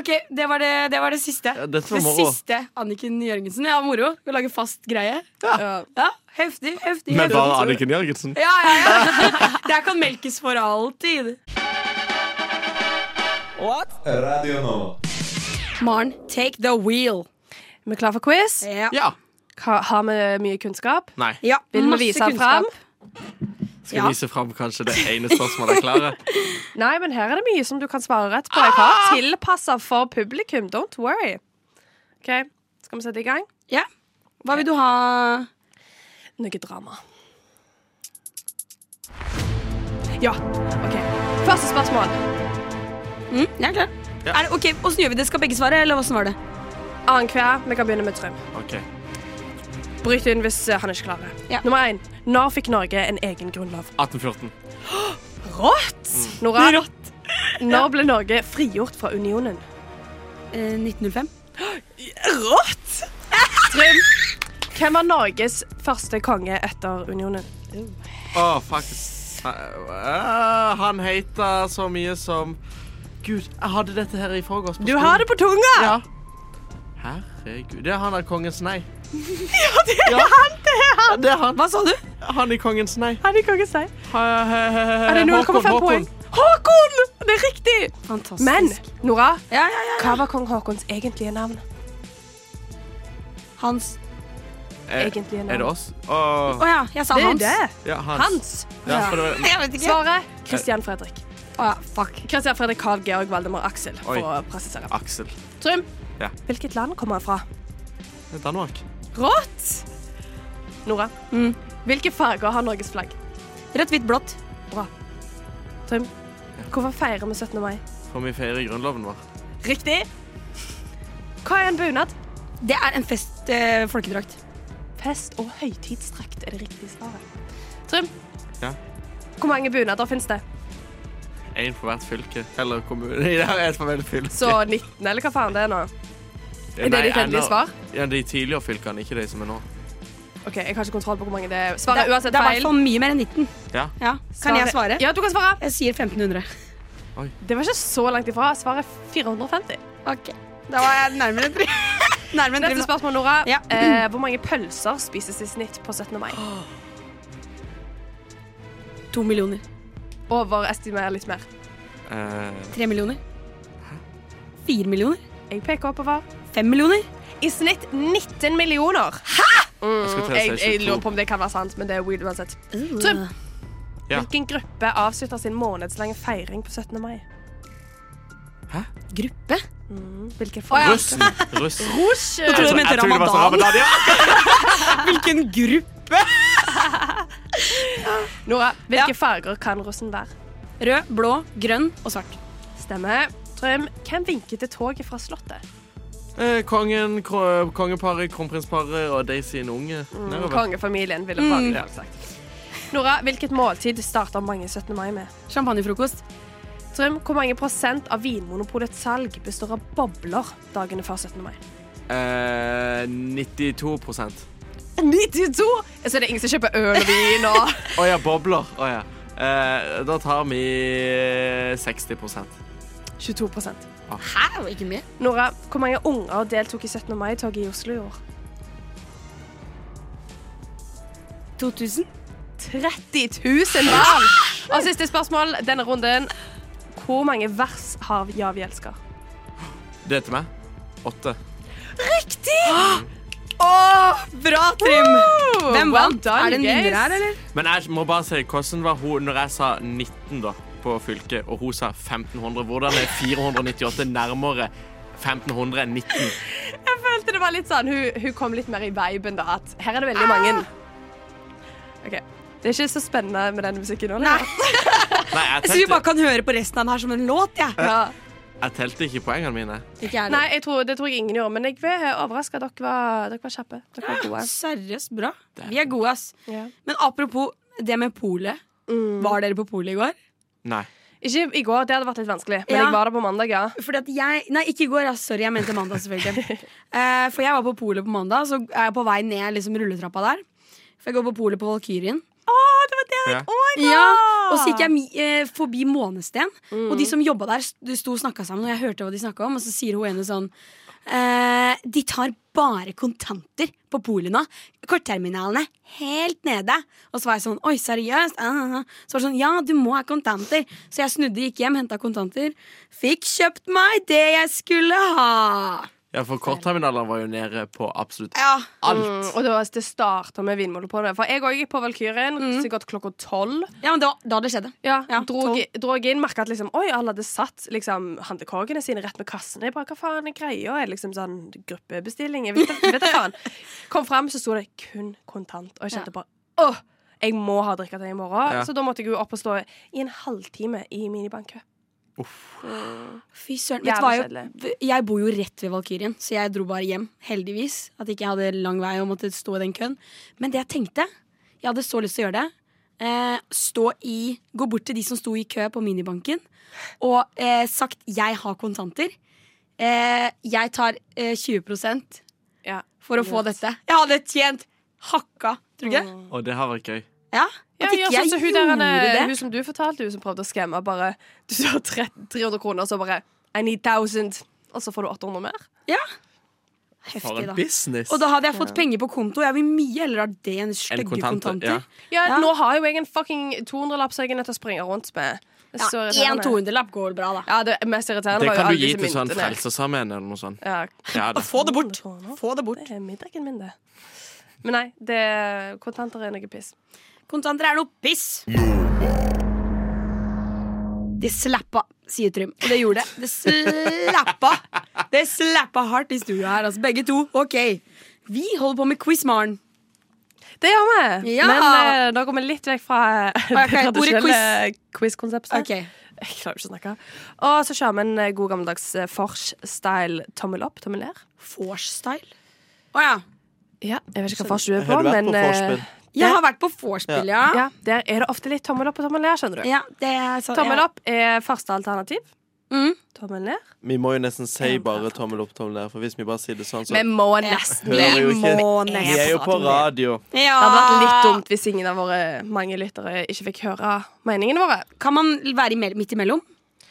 S4: Ok, det var det, det, var det siste.
S1: Ja, dette var
S4: det
S1: moro.
S4: siste Anniken Jørgensen. Ja, moro. Vi lager fast greie.
S5: Ja.
S4: Ja, Heftig. heftig,
S1: Men
S4: heftig.
S1: bare Anniken Jørgensen.
S4: Ja, ja, ja. Det her kan melkes for alltid.
S7: Radio Nova.
S4: Maren, take the wheel.
S5: Vi er klar for quiz.
S4: Ja.
S1: Ja.
S5: Ka- Har vi mye kunnskap?
S1: Nei.
S4: ja
S5: Vil vi
S4: masse
S5: vise den
S4: kunnskap.
S5: fram?
S1: Skal
S4: Ja.
S1: vise fram kanskje det ene spørsmålet jeg klarer.
S5: Nei, men her er det mye som du kan svare rett på. Jeg
S4: Ah!
S5: har tilpassa for publikum. Don't worry. OK, skal vi sette i gang?
S4: Ja. Hva vil du ha?
S5: Noe drama. Ja. OK. Første spørsmål.
S4: Mm, jeg er klar.
S1: Ja.
S4: Er det, ok, Åssen gjør vi det? Skal begge svare, eller åssen var det?
S5: Annenhver. Vi kan begynne med Trym.
S1: OK.
S5: Bryt inn hvis eh, han ikke klarer det.
S4: Ja.
S5: Nummer én. Når fikk Norge en egen grunnlov?
S1: 1814.
S5: Rått! Nora. Når ble Norge frigjort fra unionen?
S4: Eh, 1905.
S5: Rått! Trym. Hvem var Norges første konge etter unionen?
S1: Å, faktisk. Eh, Han heter så mye som Gud, jeg hadde dette her i forgårs. på
S5: Du
S1: skolen.
S5: har det på tunga!
S1: Ja. Herregud. Det er han av Kongens nei. ja, det er han! Det er han.
S4: Hva sa du?
S1: Han i Kongens nei.
S5: Er det kongens nei? Er det
S1: Er
S5: 0,5 poeng? Håkon! Det er riktig!
S4: Fantastisk.
S5: Men, Nora,
S4: ja, ja, ja.
S5: hva var kong Håkons egentlige navn?
S4: Hans
S1: Er,
S5: Egentlige
S1: er det
S5: navn.
S1: oss?
S4: Å
S1: Å,
S4: ja, jeg sa Hans.
S1: ja, Hans.
S5: Hans.
S1: Ja, for det var,
S4: Jeg vet ikke.
S5: Svaret Christian Fredrik.
S4: Å ja, fuck.
S5: Christian Fredrik Karl Georg Valdemar Aksel, for
S1: Oi.
S5: å presisere.
S1: Aksel.
S5: Trym,
S1: Ja.
S5: hvilket land kommer han fra?
S1: Det er Danmark.
S5: Rått! Nora,
S4: Mm.
S5: hvilke farger har Norges flagg?
S4: Rødt, hvitt, blått.
S5: Trym, hvorfor feirer vi 17. mai?
S1: For vi feirer grunnloven vår.
S5: Riktig! Hva er en bunad?
S4: Det er en fest eh, folkedrakt.
S5: Fest- og høytidsdrakt er det riktige svaret. Trym,
S1: Ja.
S5: hvor mange bunader finnes det?
S1: Én for hvert fylke. Eller kommune. Det er en for hvert fylke.
S5: Så 19, eller hva faen det er nå?
S1: er
S5: det ditt endelige svar?
S1: Ja, de tidligere fylkene, ikke de som er nå.
S5: Ok, Jeg har ikke kontroll på hvor mange det er.
S4: Det,
S5: Svaret er uansett
S4: det er i hvert
S5: feil.
S4: fall mye mer enn 19.
S1: Ja.
S4: Ja. Kan jeg svare?
S5: Ja, du kan svare.
S4: Jeg sier 1500.
S5: Det var ikke så langt ifra. Svaret er 450.
S4: Ok. Da var jeg nærmere en tre. Nærmere en
S5: Neste
S4: tre.
S5: spørsmål, Nora.
S4: Ja.
S5: Eh, hvor mange pølser spises i snitt på 17. mai?
S4: To millioner.
S5: Overestimer litt mer.
S1: Eh,
S4: Tre millioner. Fire millioner.
S5: Jeg peker oppover.
S4: Fem millioner.
S5: I snitt 19 millioner.
S1: jeg skal
S5: Jeg,
S1: til å si
S5: jeg lurer
S1: 22.
S5: på om det kan være sant, men det er weird uansett.
S4: Trump.
S1: Ja.
S5: Hvilken gruppe avslutter sin månedslange feiring på 17. mai?
S4: Gruppe?
S5: Hvilken
S1: Russen! Russen.
S5: Rouge!
S4: Nå trodde jeg du mente
S1: Jeg tror det var sånn
S4: ramadan.
S1: ramadan, ja.
S4: Hvilken gruppe?
S5: Nora, hvilke farger kan russen være?
S4: Rød, blå, grønn og svart.
S5: Stemmer. Trym, hvem vinker til toget fra Slottet?
S1: Eh, Kongen, kro- kongeparet, kronprinsparet og de sine unge.
S4: Mm.
S1: Nedover.
S5: Kongefamilien, ville vanlige folk sagt. Nora, hvilket måltid starter mange 17. mai med?
S4: Champagnefrokost.
S5: Trym, hvor mange prosent av Vinmonopolets salg består av bobler dagene før 17. mai?
S1: Eh, 92
S5: 92! Så det er ingen som kjøper øl og vin og
S1: Å ja, bobler. Å ja. Eh, da tar vi 60
S5: 22
S4: Hæ? Ikke mer?
S5: Nora, hvor mange unger deltok i 17. mai-toget i Oslo i år?
S4: 2000?
S5: 30 000 barn! Og siste spørsmål denne runden. Hvor mange vers har Ja, vi elsker?
S1: Det er til meg. Åtte.
S4: Bra, Trym! Hvem vant? er det en vinner her, eller?
S1: Men jeg må bare si, hvordan var hun når jeg sa 19 da, på fylket, og hun sa 1500? Hvordan er 498 nærmere 1500 enn 19?
S5: Jeg følte det var litt sånn, hun, hun kom litt mer i viben da, at her er det veldig mange. Ah! Ok, Det er ikke så spennende med den musikken nå. eller?
S1: Nei, jeg
S4: Jeg syns vi bare
S1: telte,
S4: kan høre på resten av den her som en låt, jeg.
S5: Ja.
S1: jeg telte ikke poengene mine.
S4: Ikke jeg
S5: Nei, jeg tror, det tror jeg ingen gjorde, men jeg er overraska. Dere, var- dere var kjappe. Dere var gode.
S4: Seriøst bra. Vi er gode, ass.
S5: Ja.
S4: Men apropos det med polet. Var dere på polet i går?
S1: Nei.
S5: Ikke i går, det hadde vært litt vanskelig, men
S4: Ja.
S5: jeg var der på mandag, ja.
S4: Fordi at jeg, nei, ikke i går. Ja, sorry, jeg mente mandag. selvfølgelig Eh, For jeg var på polet på mandag, så er jeg på vei ned liksom, rulletrappa der. For jeg går på polet på Valkyrien.
S1: Ja.
S4: Ja, og så gikk jeg mi- eh, forbi Månesten, og de som jobba der, st- sto og snakka sammen. Og jeg hørte hva de snakka om, og så sier hun ene sånn eh, De tar bare kontanter på polet nå. Kortterminalene helt nede. Og så var jeg sånn Oi, seriøst? Ah, ah, ah. Så var det sånn Ja, du må ha kontanter. Så jeg snudde, gikk hjem, henta kontanter. Fikk kjøpt meg det jeg skulle ha.
S1: Ja, for kortterminalene var jo nede på absolutt
S4: Ja.
S1: alt.
S5: Mm, og det, var, det starta med Vinmonopolet. For jeg òg gikk på Valkyrien sikkert klokka tolv.
S4: ja, men det var da det skjedde.
S5: Ja,
S4: Ja,
S5: drog, drog inn, merka at liksom, oi, alle hadde satt liksom, handlekorgene sine rett med kassene. Jeg bare, hva faen er greia? Er det liksom sånn gruppebestilling? Jeg vet, da- vet da faen. Kom fram, så sto det kun kontant. Og jeg kjente bare åh, jeg må ha drikka til i morgen.
S1: Ja.
S5: Så da måtte jeg jo opp og stå i en halvtime i minibankkø.
S4: Fy søren. Vet du hva,
S5: Jævlig
S4: jeg, jeg bor jo rett ved Valkyrien, så jeg dro bare hjem. Heldigvis. At ikke jeg hadde lang vei og måtte stå i den køen. Men det jeg tenkte Jeg hadde så lyst til å gjøre det. Eh, stå i Gå bort til de som sto i kø på minibanken, og eh, sagt 'jeg har kontanter'. Eh, jeg tar eh, 20
S5: Ja.
S4: for å få dette. Jeg hadde tjent hakka, tror du ikke? det?
S1: Og det har vært gøy.
S4: Ja.
S5: Mm. Ja,
S4: At ikke
S5: gjør sånn som hun, der, Anne,
S4: gjorde
S5: hun som du fortalte, hun som prøvde å skremme. Bare, du har 300 kroner, og så bare I need 1000. Og så får du 800 mer.
S1: For
S4: Heftig,
S1: en
S4: da.
S1: business!
S4: Og da hadde jeg fått penger på konto. Jeg vil mye heller ha det enn stygge
S1: kontanter,
S4: kontanter.
S1: ja.
S5: Ja,
S4: Ja.
S5: nå har jo jeg en fucking 200-lapp som jeg er nødt til å springe rundt med. Det er så
S4: Ja, en
S5: irriterende.
S4: 200-lapp går bra, da.
S5: Ja, det mest irriterende
S1: Det
S5: var jo
S1: kan du
S5: alle
S1: gi
S5: disse
S1: til sånn
S5: myntene.
S1: Frelsesarmeen eller noe sånt.
S5: Ja.
S1: Ja, da.
S4: Få det bort!
S5: 200
S4: Få det bort.
S5: Det er middagen min, det. Men nei, det, kontanter er noe piss.
S4: Kontanter er noe piss. Det slappa, sier Trym. Og det gjorde det. Det slappa. Det slappa hardt i stua her, altså. Begge to. OK. Vi holder på med quiz, Maren.
S5: Det gjør vi!
S4: Ja.
S5: Men eh, da går vi litt vekk fra det
S4: Ok, ordet
S5: tradisjonelle quiz-konseptet.
S4: Ok.
S5: Jeg klarer ikke å snakke. Og så kjører vi en eh, god gammeldags eh, Fors-style tommel opp, tommel ned.
S4: Force-style. Å ja.
S5: Ja, jeg vet ikke hva Fors du er på,
S1: Har du vært
S5: men
S1: på
S5: eh,
S1: vorspiel?
S4: Jeg har vært på vorspiel, ja.
S5: ja, der er det ofte litt tommel opp og tommel ned, skjønner du.
S4: Ja, det er så,
S5: Tommel
S4: ja.
S5: opp er første alternativ.
S4: Mm.
S5: Tommel ned.
S1: Vi må jo nesten si bare tommel opp, tommel ned, for hvis vi bare sier det sånn, så
S5: Vi må
S4: Ja.
S5: nesten det.
S1: hører jo ikke
S4: Må
S1: Vi er jo
S4: nesten.
S1: på radio.
S4: Ja.
S5: Det hadde vært litt dumt hvis ingen av våre mange lyttere ikke fikk høre meningene våre.
S4: Kan man være imell- midt imellom?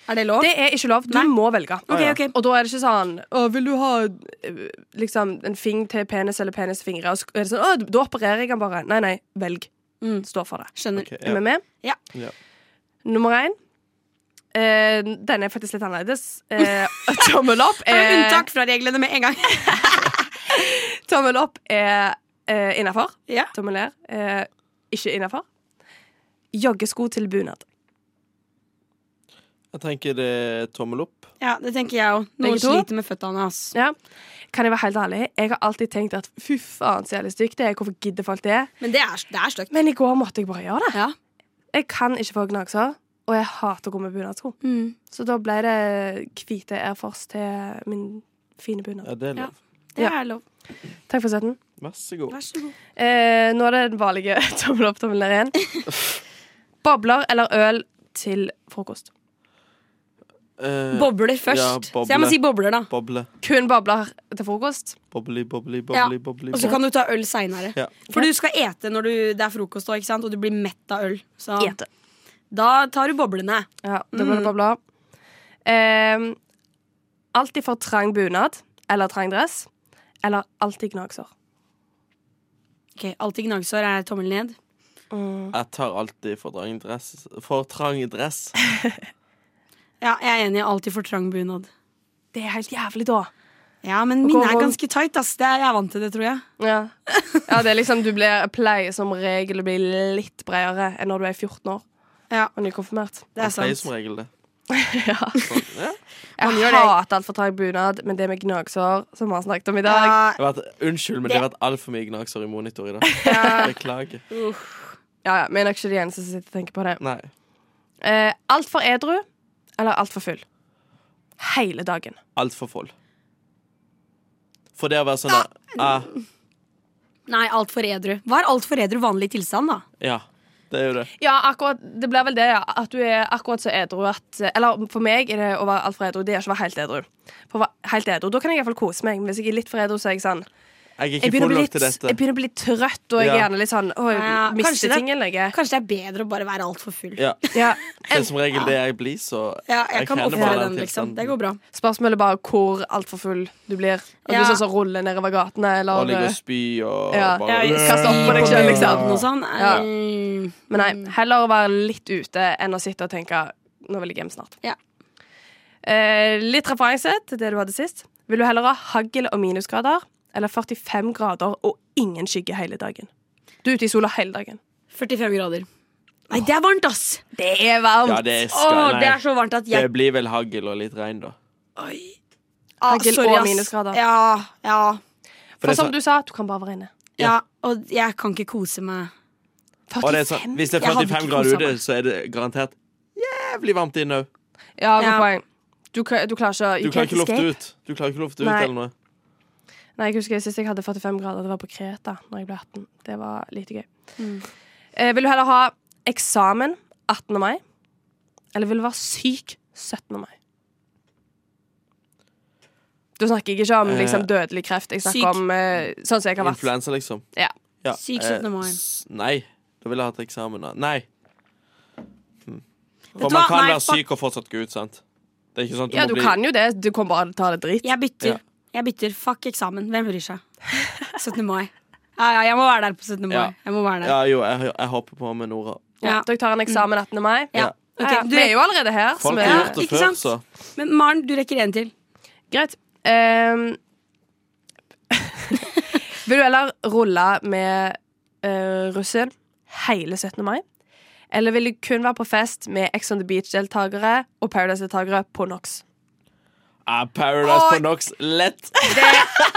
S4: Er det lov?
S5: Det er ikke lov. Du må velge.
S4: Ok, ok.
S5: Og da er det ikke sånn å, 'Vil du ha eh, liksom, en fing til penis eller penis til fingre?' Og så er det sånn, å, 'Da opererer jeg den bare.' Nei, nei. Velg.
S4: Mm.
S5: Stå for det.
S4: Skjønner.
S1: Ok,
S5: Er vi
S1: ja.
S5: med?
S4: Ja.
S1: Ja.
S5: Nummer én. Eh, denne er faktisk litt annerledes. Eh, tommel opp
S4: Er det
S5: er,
S4: unntak fra reglene med en gang?
S5: tommel opp er eh, innafor.
S4: Ja.
S5: Tommel ned er ikke innafor. Joggesko til bunad.
S1: Jeg tenker det er tommel opp.
S4: Ja, det tenker jeg òg.
S5: Begge
S4: Noen
S5: to?
S4: sliter med føttene. ass.
S5: Ja. Kan jeg være helt ærlig? Jeg har alltid tenkt at fy faen, så jævlig stygt det er. Hvorfor gidder folk det?
S4: Men det er, det er stygt.
S5: Men i går måtte jeg bare gjøre det.
S4: Ja.
S5: Jeg kan ikke få gnagsår, og jeg hater å gå med bunadsko.
S4: Mm.
S5: Så da ble det hvite Air Force til min fine bunad.
S1: Ja, det er lov.
S4: Det
S5: Ja.
S4: er lov.
S5: Takk for støtten.
S1: Vær så god.
S4: Vær så god.
S5: Eh, nå er det den vanlige tommel opp, tommel ned igjen. Bobler eller øl til frokost?
S1: Eh,
S4: Bobler først.
S1: Ja,
S4: Så jeg må
S1: boble.
S4: si bobler, da.
S1: boble.
S5: Kun bobler til frokost.
S1: Bobli, bobli,
S4: Ja.
S1: bobli, bobli.
S4: Og så kan du ta øl seinere.
S1: Ja.
S4: For du skal ete når du, det er frokost, også, ikke sant? og du blir mett av øl. Så
S5: Gjete.
S4: da tar du boblene.
S5: Ja, da blir det bobler. Eh, alltid for trang bunad eller trang dress. Eller alltid gnagsår.
S4: Ok, Alltid gnagsår er tommel ned.
S1: Jeg tar alltid for trang dress. For trang dress.
S4: Ja, jeg er enig. Alltid for trang bunad.
S5: Det er helt jævlig, da.
S4: Ja, men
S5: gå
S4: mine er
S5: rundt.
S4: ganske tight. ass. Det er, jeg er vant til det, tror jeg.
S5: Ja. ja, det er liksom du blir, pleier som regel å bli litt bredere enn når du er 14 år
S4: Ja,
S5: og nykonfirmert.
S4: det er
S1: Jeg pleier
S4: sant.
S1: som regel det.
S5: Jeg
S4: gjør det.
S5: hater altfor trang bunad, men det med gnagsår, som vi har snakket om i dag
S4: Ja,
S1: Jeg har vært, unnskyld, men det har vært altfor mye gnagsår i monitor i dag. Beklager.
S5: Ja, ja, Vi er nok ikke de eneste som sitter og tenker på det.
S1: Nei.
S5: Eh, altfor edru eller altfor full? Hele dagen.
S1: Altfor fold. For det å være sånn der ah,
S4: nei, altfor edru. Hva er altfor edru vanlig tilstand, da?
S1: Ja. Det er jo det.
S5: Ja, akkurat, det blir vel det, ja. At du er akkurat så edru at Eller for meg er det å være altfor edru, det er ikke å være helt edru. For å være helt edru, Da kan jeg iallfall kose meg. Men hvis jeg er litt for edru, så er jeg sånn
S1: Jeg er
S5: Jeg
S1: ikke
S5: begynner,
S1: full
S5: å bli
S1: nok
S5: litt,
S1: til dette.
S5: jeg begynner å bli litt trøtt, og jeg er
S1: Ja.
S5: gjerne litt sånn Å, jeg
S4: Ja, kanskje
S5: mister
S4: det-
S5: ting eller noe.
S4: Kanskje det er bedre å bare være altfor full.
S1: Ja.
S5: Ja.
S1: Det er som regel det jeg blir, så
S4: Ja, jeg, kan
S1: kjenner
S4: ofre
S1: bare
S4: den, liksom.
S1: tilstanden.
S4: Det går bra.
S5: Spørsmålet er bare hvor altfor full du blir. Om
S4: Ja.
S5: du sånn som ruller nedover gatene,
S1: Og
S5: eller
S1: ligger og spy og
S5: Ja.
S1: bare
S4: Jeg
S5: Kast opp på deg
S4: Mm.
S5: sjøl, liksom.
S4: Noe sånt.
S5: Ja.
S4: sånn. Mm.
S5: Men nei, heller å være litt ute enn å sitte og tenke Nå vil jeg hjem snart.
S4: Ja.
S5: Eh, litt referanse til det du hadde sist. Vil du heller ha hagl og minusgrader eller 45 grader og ingen skygge hele dagen? Du er ute i sola hele dagen.
S4: 45 grader. Nei, det er varmt, ass!
S5: Det er varmt!
S1: Ja, det er
S4: Å,
S1: skal,
S4: det
S1: nei.
S4: er så varmt at
S1: Det
S4: jeg
S1: blir vel hagl og litt regn, da.
S4: Oi.
S5: Hagl
S4: Ah, sorry,
S5: og
S4: ass.
S5: minusgrader.
S4: Ja, ja,
S5: For
S1: det er
S5: som
S1: sånn-
S5: du sa, du kan bare være inne.
S4: ja. Og jeg kan ikke kose meg.
S1: Og det er sånn, hvis det er
S4: Jeg hadde
S1: 45
S4: ikke
S1: grader
S4: koset
S1: ute, så er det garantert jævlig varmt inne òg.
S5: Ja, godt
S4: Ja.
S5: poeng. Du, kan- du klarer ikke å
S1: Du
S5: you
S1: klarer
S5: can't
S1: ikke lufte
S5: escape.
S1: ut. Du klarer ikke lufte ut
S5: Nei.
S1: eller noe.
S5: Nei, jeg husker Sist jeg hadde 45 grader, det var på Kreta Når jeg ble 18. Det var lite gøy.
S4: Mm.
S5: Eh, vil du heller ha eksamen 18. mai, eller vil du være syk 17. mai? Da snakker jeg ikke om
S1: Eh,
S5: liksom, dødelig kreft. Jeg snakker
S4: syk.
S5: om eh, sånn som jeg har vært.
S1: Influensa, liksom.
S5: Ja.
S1: Ja,
S4: Syk
S1: eh,
S4: 17. mai.
S1: s- Nei. Da ville jeg hatt eksamen. da. Nei. Mm.
S4: Vet
S1: For
S4: du
S1: man
S4: hva?
S1: kan
S4: Nei,
S1: være
S4: fuck.
S1: syk og fortsatt gå ut, sant? Det er ikke sånn at du
S5: Ja,
S1: må
S5: du
S1: bli
S5: kan jo det. Du kommer bare til å ta det dritt.
S4: Jeg bytter.
S1: Ja.
S4: Jeg bytter. Fuck eksamen. Hvem bryr seg? 17. mai. Ja, ja, jeg må være der på 17. mai.
S1: Ja.
S4: Jeg må være der.
S1: Ja, jo, jeg, jeg hopper på med Nora.
S5: Ja.
S4: Ja.
S5: Dere tar en eksamen 18. mai.
S4: Ja.
S5: Ja,
S4: Ok,
S5: ja.
S4: du
S5: Vi er
S4: rek-
S5: jo allerede her. så
S1: Folk
S5: vi-
S1: har gjort det
S4: ikke
S1: før,
S4: sant?
S1: så
S4: Men Maren, du rekker en til.
S5: Greit. Ehm, vil du heller rulle med uh, russen hele 17. mai? Eller vil du kun være på fest med Ex on the Beach-deltakere og Paradise-deltakere på NOX?
S1: Ah, Paradise på Nox, lett!
S4: Altså-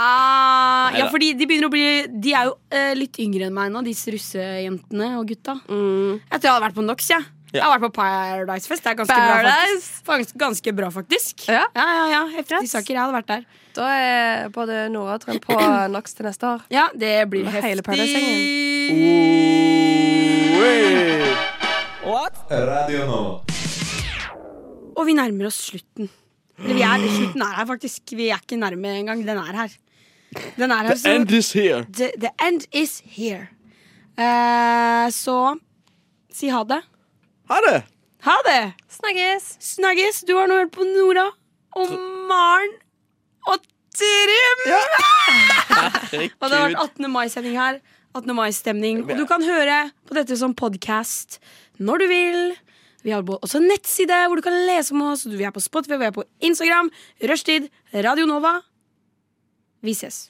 S4: Ah, ja,
S1: Neida.
S4: fordi de begynner å bli De er jo eh, litt yngre enn meg nå, disse russejentene og gutta.
S5: Mm.
S4: Jeg tror jeg hadde vært på Nox, jeg. Jeg har vært på Paradise-fest. Det er ganske
S5: Paradise!
S4: bra, faktisk. Gans- Ganske bra, faktisk.
S5: Ja.
S4: ja, ja. ja. Heftige saker. Jeg hadde vært der.
S5: Da er både Nora og Trym på NOX til neste år.
S4: Ja, det blir
S5: Med hele
S4: heftig.
S7: Eh, Radio Nova.
S4: Og vi nærmer oss slutten. Eller vi er, slutten er her, faktisk. Vi er ikke nærme engang. Den er her. Den er her
S1: The end is here.
S4: the, the end is here. Eh, så si ha det.
S1: Ha det!
S4: Ha det!
S5: Snakkes!
S4: Snakkes. Du har nå hørt på Nora og Maren og Trym. Og det har vært 18. mai-sending her. 18. mai-stemning. Og du kan høre på dette som podkast når du vil. Vi har også en nettside hvor du kan lese om oss. Vi er på Spotify, vi er på Instagram. Rushtid, Radio Nova. Vi ses.